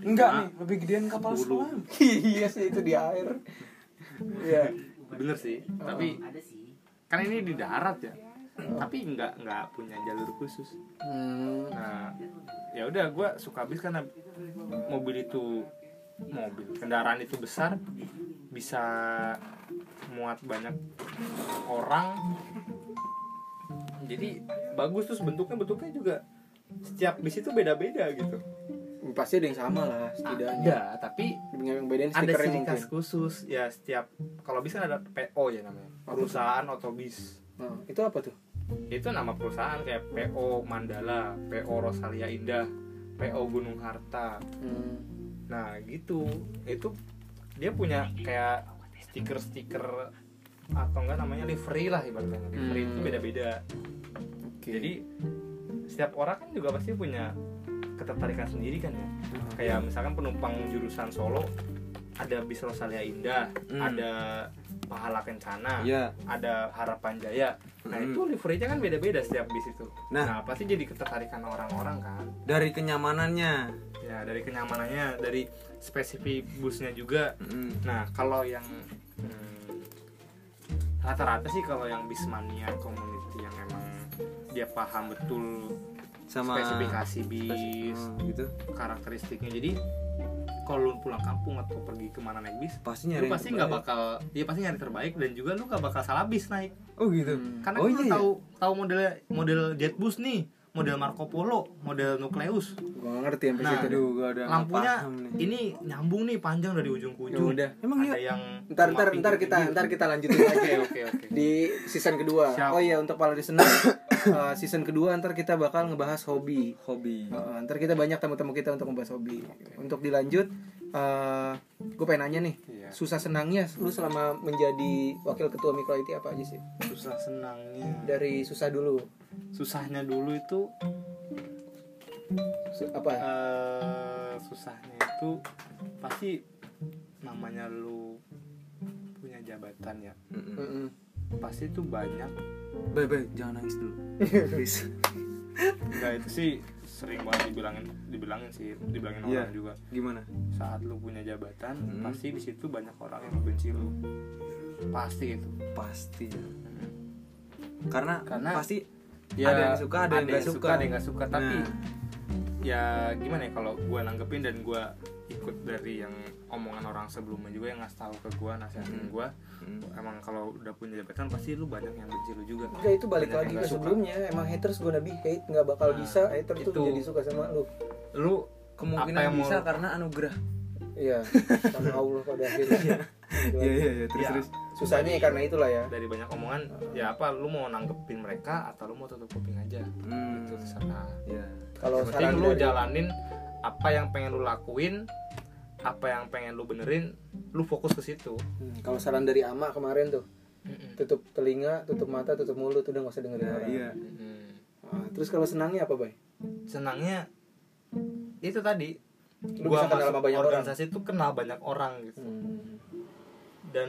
[SPEAKER 2] enggak
[SPEAKER 3] Nah.
[SPEAKER 2] nih lebih gedean kapal
[SPEAKER 3] Bulu.
[SPEAKER 2] selam
[SPEAKER 1] iya sih itu di air iya
[SPEAKER 3] bener sih tapi kan ini di darat ya tapi nggak nggak punya jalur khusus
[SPEAKER 1] Hmm,
[SPEAKER 3] nah ya udah gue suka bis karena mobil itu mobil kendaraan itu besar bisa muat banyak orang jadi bagus terus bentuknya bentuknya juga setiap bis itu beda-beda gitu
[SPEAKER 1] pasti ada yang sama lah setidaknya
[SPEAKER 3] ada tapi
[SPEAKER 1] yang bedain
[SPEAKER 3] ada
[SPEAKER 1] stikernya
[SPEAKER 3] ciri
[SPEAKER 1] mungkin
[SPEAKER 3] khas khusus ya setiap kalau bisa ada PO ya namanya perusahaan otobis
[SPEAKER 1] Nah, itu apa tuh
[SPEAKER 3] itu nama perusahaan kayak PO Mandala PO Rosalia Indah PO Gunung Harta
[SPEAKER 1] Hmm,
[SPEAKER 3] nah gitu itu dia punya kayak stiker-stiker atau enggak namanya livery lah ibaratnya livery itu
[SPEAKER 1] Hmm.
[SPEAKER 3] beda-beda
[SPEAKER 1] oke.
[SPEAKER 3] jadi setiap orang kan juga pasti punya ketertarikan sendiri kan ya kayak misalkan penumpang jurusan Solo ada bis Rosalia Indah,
[SPEAKER 2] Hmm.
[SPEAKER 3] ada Pahala Kencana,
[SPEAKER 2] Iya.
[SPEAKER 3] ada Harapan Jaya. Nah
[SPEAKER 2] Hmm.
[SPEAKER 3] itu liverynya kan beda-beda setiap bis itu.
[SPEAKER 2] Nah.
[SPEAKER 3] Nah, pasti jadi ketertarikan orang-orang kan.
[SPEAKER 2] dari kenyamanannya
[SPEAKER 3] Ya dari kenyamanannya, dari spesifik busnya juga.
[SPEAKER 2] Mm.
[SPEAKER 3] Nah kalau yang hmm, rata-rata sih kalau yang bismania community yang emang dia paham betul
[SPEAKER 2] sama
[SPEAKER 3] spesifikasi bis,
[SPEAKER 2] spesifik- oh, gitu
[SPEAKER 3] karakteristiknya jadi kalau lu pulang kampung atau pergi kemana naik bis
[SPEAKER 2] pasti
[SPEAKER 3] lu
[SPEAKER 2] nyari yang
[SPEAKER 3] pasti nggak
[SPEAKER 2] terbaik.
[SPEAKER 3] bakal ya pasti nyari terbaik dan juga lu nggak bakal salah bis naik
[SPEAKER 2] oh gitu
[SPEAKER 1] Hmm.
[SPEAKER 3] karena
[SPEAKER 2] Oh,
[SPEAKER 3] kan lu
[SPEAKER 2] iya, iya.
[SPEAKER 3] tahu tahu model model Jetbus nih model Marco Polo model Nucleus
[SPEAKER 1] gua nggak ngerti sampai
[SPEAKER 3] Nah,
[SPEAKER 1] situ
[SPEAKER 2] aduh gua ada nggak
[SPEAKER 3] lampunya
[SPEAKER 2] paham nih.
[SPEAKER 3] ini nyambung nih panjang dari ujung ke ujung
[SPEAKER 1] Ya udah.
[SPEAKER 2] Emang iya?
[SPEAKER 3] ada yang gitu.
[SPEAKER 1] ntar
[SPEAKER 3] cuma
[SPEAKER 1] ntar
[SPEAKER 3] pinggir
[SPEAKER 1] ntar kita
[SPEAKER 3] pinggir.
[SPEAKER 1] ntar kita lanjutin lagi
[SPEAKER 3] oke oke oke
[SPEAKER 1] di season kedua.
[SPEAKER 3] Siap.
[SPEAKER 1] Oh iya untuk para listener eh, season kedua ntar kita bakal ngebahas hobi.
[SPEAKER 2] hobi
[SPEAKER 1] Eh, ntar kita banyak tamu-tamu kita untuk ngebahas hobi. Untuk dilanjut, eh gue pengen nanya nih,
[SPEAKER 3] Iya.
[SPEAKER 1] susah senangnya lu selama menjadi wakil ketua mikro IT apa aja sih?
[SPEAKER 3] susah senangnya
[SPEAKER 1] Dari susah dulu,
[SPEAKER 3] susahnya dulu itu
[SPEAKER 1] Su- apa?
[SPEAKER 3] eh susahnya itu pasti namanya lu punya jabatan ya
[SPEAKER 2] Mm-mm.
[SPEAKER 1] Mm-mm.
[SPEAKER 3] pasti itu banyak
[SPEAKER 2] baik baik jangan nangis dulu please
[SPEAKER 3] nah itu sih sering banget dibilangin dibilangin sih dibilangin
[SPEAKER 2] Iya.
[SPEAKER 3] orang juga
[SPEAKER 2] gimana
[SPEAKER 3] saat lu punya jabatan
[SPEAKER 2] Hmm.
[SPEAKER 3] pasti di situ banyak orang yang membenci lu pasti itu
[SPEAKER 2] pasti Hmm. karena,
[SPEAKER 3] Karena-
[SPEAKER 2] pasti Ada yang suka, Ya, ada yang nggak suka.
[SPEAKER 3] ada yang nggak suka tapi
[SPEAKER 2] Nah.
[SPEAKER 3] ya gimana ya kalau gua nanggepin dan gua ikut dari yang omongan orang sebelumnya juga yang ngasih tahu ke gua nasihatin
[SPEAKER 2] Hmm.
[SPEAKER 3] gua
[SPEAKER 2] Mm.
[SPEAKER 3] emang kalau udah punya jabatan pasti lu banyak yang benci lu juga
[SPEAKER 1] Enggak itu balik
[SPEAKER 3] Banyak
[SPEAKER 1] lagi
[SPEAKER 3] yang
[SPEAKER 1] ke
[SPEAKER 3] nggak suka.
[SPEAKER 1] sebelumnya emang haters gonna be hate nggak bakal
[SPEAKER 3] Nah,
[SPEAKER 1] bisa haters
[SPEAKER 3] itu.
[SPEAKER 1] tuh jadi suka sama lu.
[SPEAKER 3] lu Apa yang
[SPEAKER 2] kemungkinan
[SPEAKER 3] mau-
[SPEAKER 2] bisa kan? karena anugerah
[SPEAKER 1] Iya sama Allah pada akhirnya.
[SPEAKER 2] iya iya iya terus
[SPEAKER 3] Ya.
[SPEAKER 2] terus
[SPEAKER 1] Susahnya ya karena itulah ya.
[SPEAKER 3] dari banyak omongan ya apa lu mau nanggepin mereka atau lu mau tutup kuping aja
[SPEAKER 2] Hmm.
[SPEAKER 3] itu sana
[SPEAKER 2] ya
[SPEAKER 1] Kalau
[SPEAKER 3] yang penting
[SPEAKER 1] saran
[SPEAKER 3] lu
[SPEAKER 1] dari-
[SPEAKER 3] jalanin apa yang pengen lu lakuin apa yang pengen lu benerin lu fokus ke situ
[SPEAKER 1] Hmm, kalau saran dari Ama kemarin tuh tutup telinga, tutup mata, tutup mulut udah nggak usah dengerin
[SPEAKER 2] Nah,
[SPEAKER 1] orang.
[SPEAKER 2] iya
[SPEAKER 3] Mm.
[SPEAKER 1] Ah, terus kalau senangnya apa, Bay?
[SPEAKER 3] senangnya itu tadi
[SPEAKER 1] Lu bisa kenal
[SPEAKER 3] masuk
[SPEAKER 1] sama banyak orang.
[SPEAKER 3] organisasi itu kenal banyak orang gitu
[SPEAKER 1] Hmm.
[SPEAKER 3] dan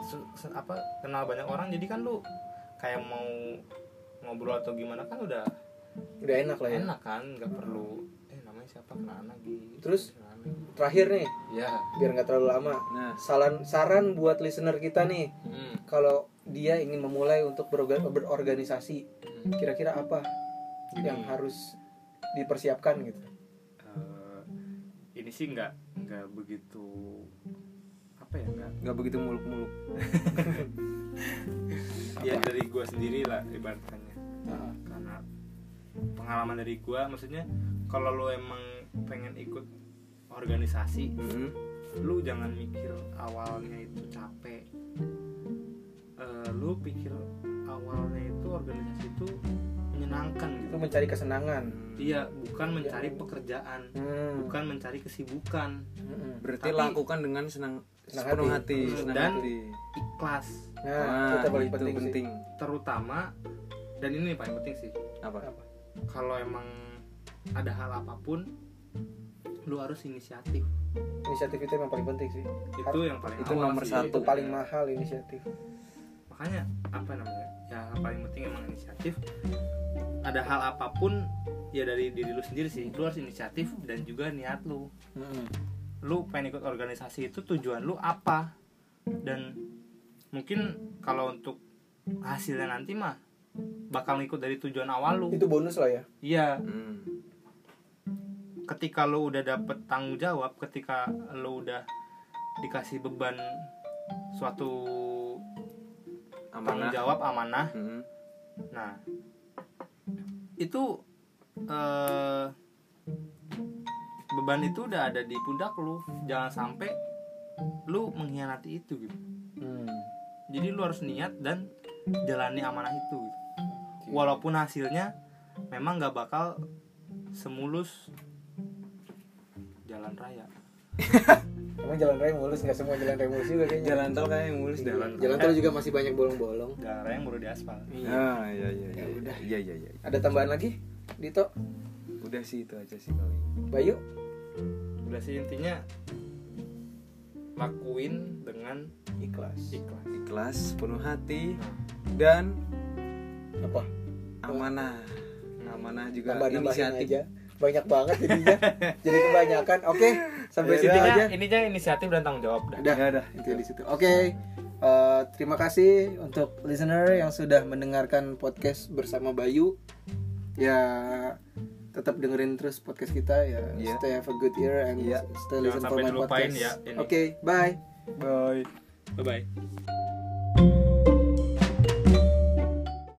[SPEAKER 3] se- se- apa kenal banyak orang jadi kan lu kayak mau ngobrol atau gimana kan udah
[SPEAKER 1] Udah enak lah ya.
[SPEAKER 3] enak kan nggak perlu eh namanya siapa kenalan lagi
[SPEAKER 1] Terus?
[SPEAKER 3] kenalan lagi.
[SPEAKER 1] Terakhir nih,
[SPEAKER 3] ya
[SPEAKER 1] biar nggak terlalu lama.
[SPEAKER 2] nah
[SPEAKER 1] Saran saran buat listener kita nih,
[SPEAKER 3] Mm.
[SPEAKER 1] kalau dia ingin memulai untuk berorga- berorganisasi,
[SPEAKER 3] Mm.
[SPEAKER 1] kira-kira apa
[SPEAKER 3] Gini.
[SPEAKER 1] yang harus dipersiapkan gitu?
[SPEAKER 3] eh ini sih nggak nggak begitu apa apa ya nggak
[SPEAKER 1] nggak begitu muluk-muluk
[SPEAKER 3] ya dari gua sendiri lah ibaratnya
[SPEAKER 1] Nah,
[SPEAKER 3] karena pengalaman dari gua maksudnya kalau lu emang pengen ikut organisasi
[SPEAKER 1] Hmm.
[SPEAKER 3] lu jangan mikir awalnya itu capek Eh, lu pikir awalnya itu organisasi itu menyenangkan
[SPEAKER 1] itu
[SPEAKER 3] gitu
[SPEAKER 1] mencari kesenangan Hmm.
[SPEAKER 3] iya bukan mencari pekerjaan bukan mencari kesibukan
[SPEAKER 1] Mm-mm.
[SPEAKER 2] Berarti
[SPEAKER 3] Tapi-
[SPEAKER 2] lakukan dengan senang,
[SPEAKER 1] Senang
[SPEAKER 2] sepenuh
[SPEAKER 1] hati.
[SPEAKER 2] hati, senang
[SPEAKER 3] Dan- ya,
[SPEAKER 2] hati.
[SPEAKER 3] ikhlas
[SPEAKER 1] nah,
[SPEAKER 2] Nah,
[SPEAKER 1] itu paling
[SPEAKER 2] itu
[SPEAKER 1] penting,
[SPEAKER 2] penting,
[SPEAKER 1] sih.
[SPEAKER 3] terutama dan ini paling penting sih
[SPEAKER 2] Apa?
[SPEAKER 1] Apa?
[SPEAKER 3] kalau emang ada hal apapun lu harus inisiatif
[SPEAKER 1] inisiatif itu memang paling penting sih
[SPEAKER 3] itu yang paling
[SPEAKER 2] Itu
[SPEAKER 3] awal
[SPEAKER 2] nomor
[SPEAKER 3] sih.
[SPEAKER 2] satu.
[SPEAKER 1] itu paling mahal inisiatif
[SPEAKER 3] makanya apa namanya ya yang paling penting emang inisiatif ada hal apapun ya dari diri lu sendiri sih lu harus inisiatif dan juga niat lu lu pengen ikut organisasi itu tujuan lu apa dan mungkin kalau untuk hasilnya nanti mah bakal ngikut dari tujuan awal lu
[SPEAKER 1] itu bonus lah ya
[SPEAKER 3] iya
[SPEAKER 2] Hmm.
[SPEAKER 3] ketika lo udah dapet tanggung jawab ketika lo udah dikasih beban suatu tanggung
[SPEAKER 2] Amanah.
[SPEAKER 3] jawab amanah
[SPEAKER 2] Hmm.
[SPEAKER 3] nah itu eh, beban itu udah ada di pundak lo jangan sampai lo mengkhianati itu gitu
[SPEAKER 2] Mm.
[SPEAKER 3] jadi lo harus niat dan jalani amanah itu gitu. walaupun hasilnya memang nggak bakal semulus jalan raya
[SPEAKER 1] emang jalan raya mulus nggak semua jalan raya mulus juga kayaknya
[SPEAKER 2] Jalan tol kayak yang mulus
[SPEAKER 1] jalan,
[SPEAKER 2] jalan.
[SPEAKER 1] jalan tol juga masih banyak bolong-bolong
[SPEAKER 3] jalan raya yang baru diaspal
[SPEAKER 2] Ah, iya iya iya.
[SPEAKER 1] Ya udah.
[SPEAKER 2] Iya iya iya.
[SPEAKER 1] ada tambahan lagi Dito
[SPEAKER 2] Udah sih itu aja sih paling.
[SPEAKER 1] Bayu
[SPEAKER 3] udah sih intinya lakuin dengan
[SPEAKER 1] ikhlas
[SPEAKER 3] ikhlas
[SPEAKER 2] Ikhlas, penuh hati
[SPEAKER 3] Nah,
[SPEAKER 2] dan
[SPEAKER 1] apa
[SPEAKER 2] amanah. Amanah juga
[SPEAKER 1] tambah nambahin
[SPEAKER 2] inisiatif.
[SPEAKER 1] aja banyak banget jadinya jadi kebanyakan oke
[SPEAKER 3] Ya
[SPEAKER 2] Iya,
[SPEAKER 1] sampai situ aja
[SPEAKER 3] intinya intinya inisiatif dan tanggung jawab dah
[SPEAKER 1] udah
[SPEAKER 2] Ya udah.
[SPEAKER 1] intinya di situ oke eh, terima kasih untuk listener yang sudah mendengarkan podcast bersama Bayu ya tetap dengerin terus podcast kita ya
[SPEAKER 2] Iya.
[SPEAKER 1] stay have a good ear and
[SPEAKER 2] Iya.
[SPEAKER 1] stay
[SPEAKER 3] Jangan
[SPEAKER 1] listen for
[SPEAKER 2] ya
[SPEAKER 3] sampai
[SPEAKER 1] my
[SPEAKER 3] dilupain
[SPEAKER 1] podcast
[SPEAKER 3] ya, ini.
[SPEAKER 1] oke bye
[SPEAKER 2] Bye.
[SPEAKER 3] bye bye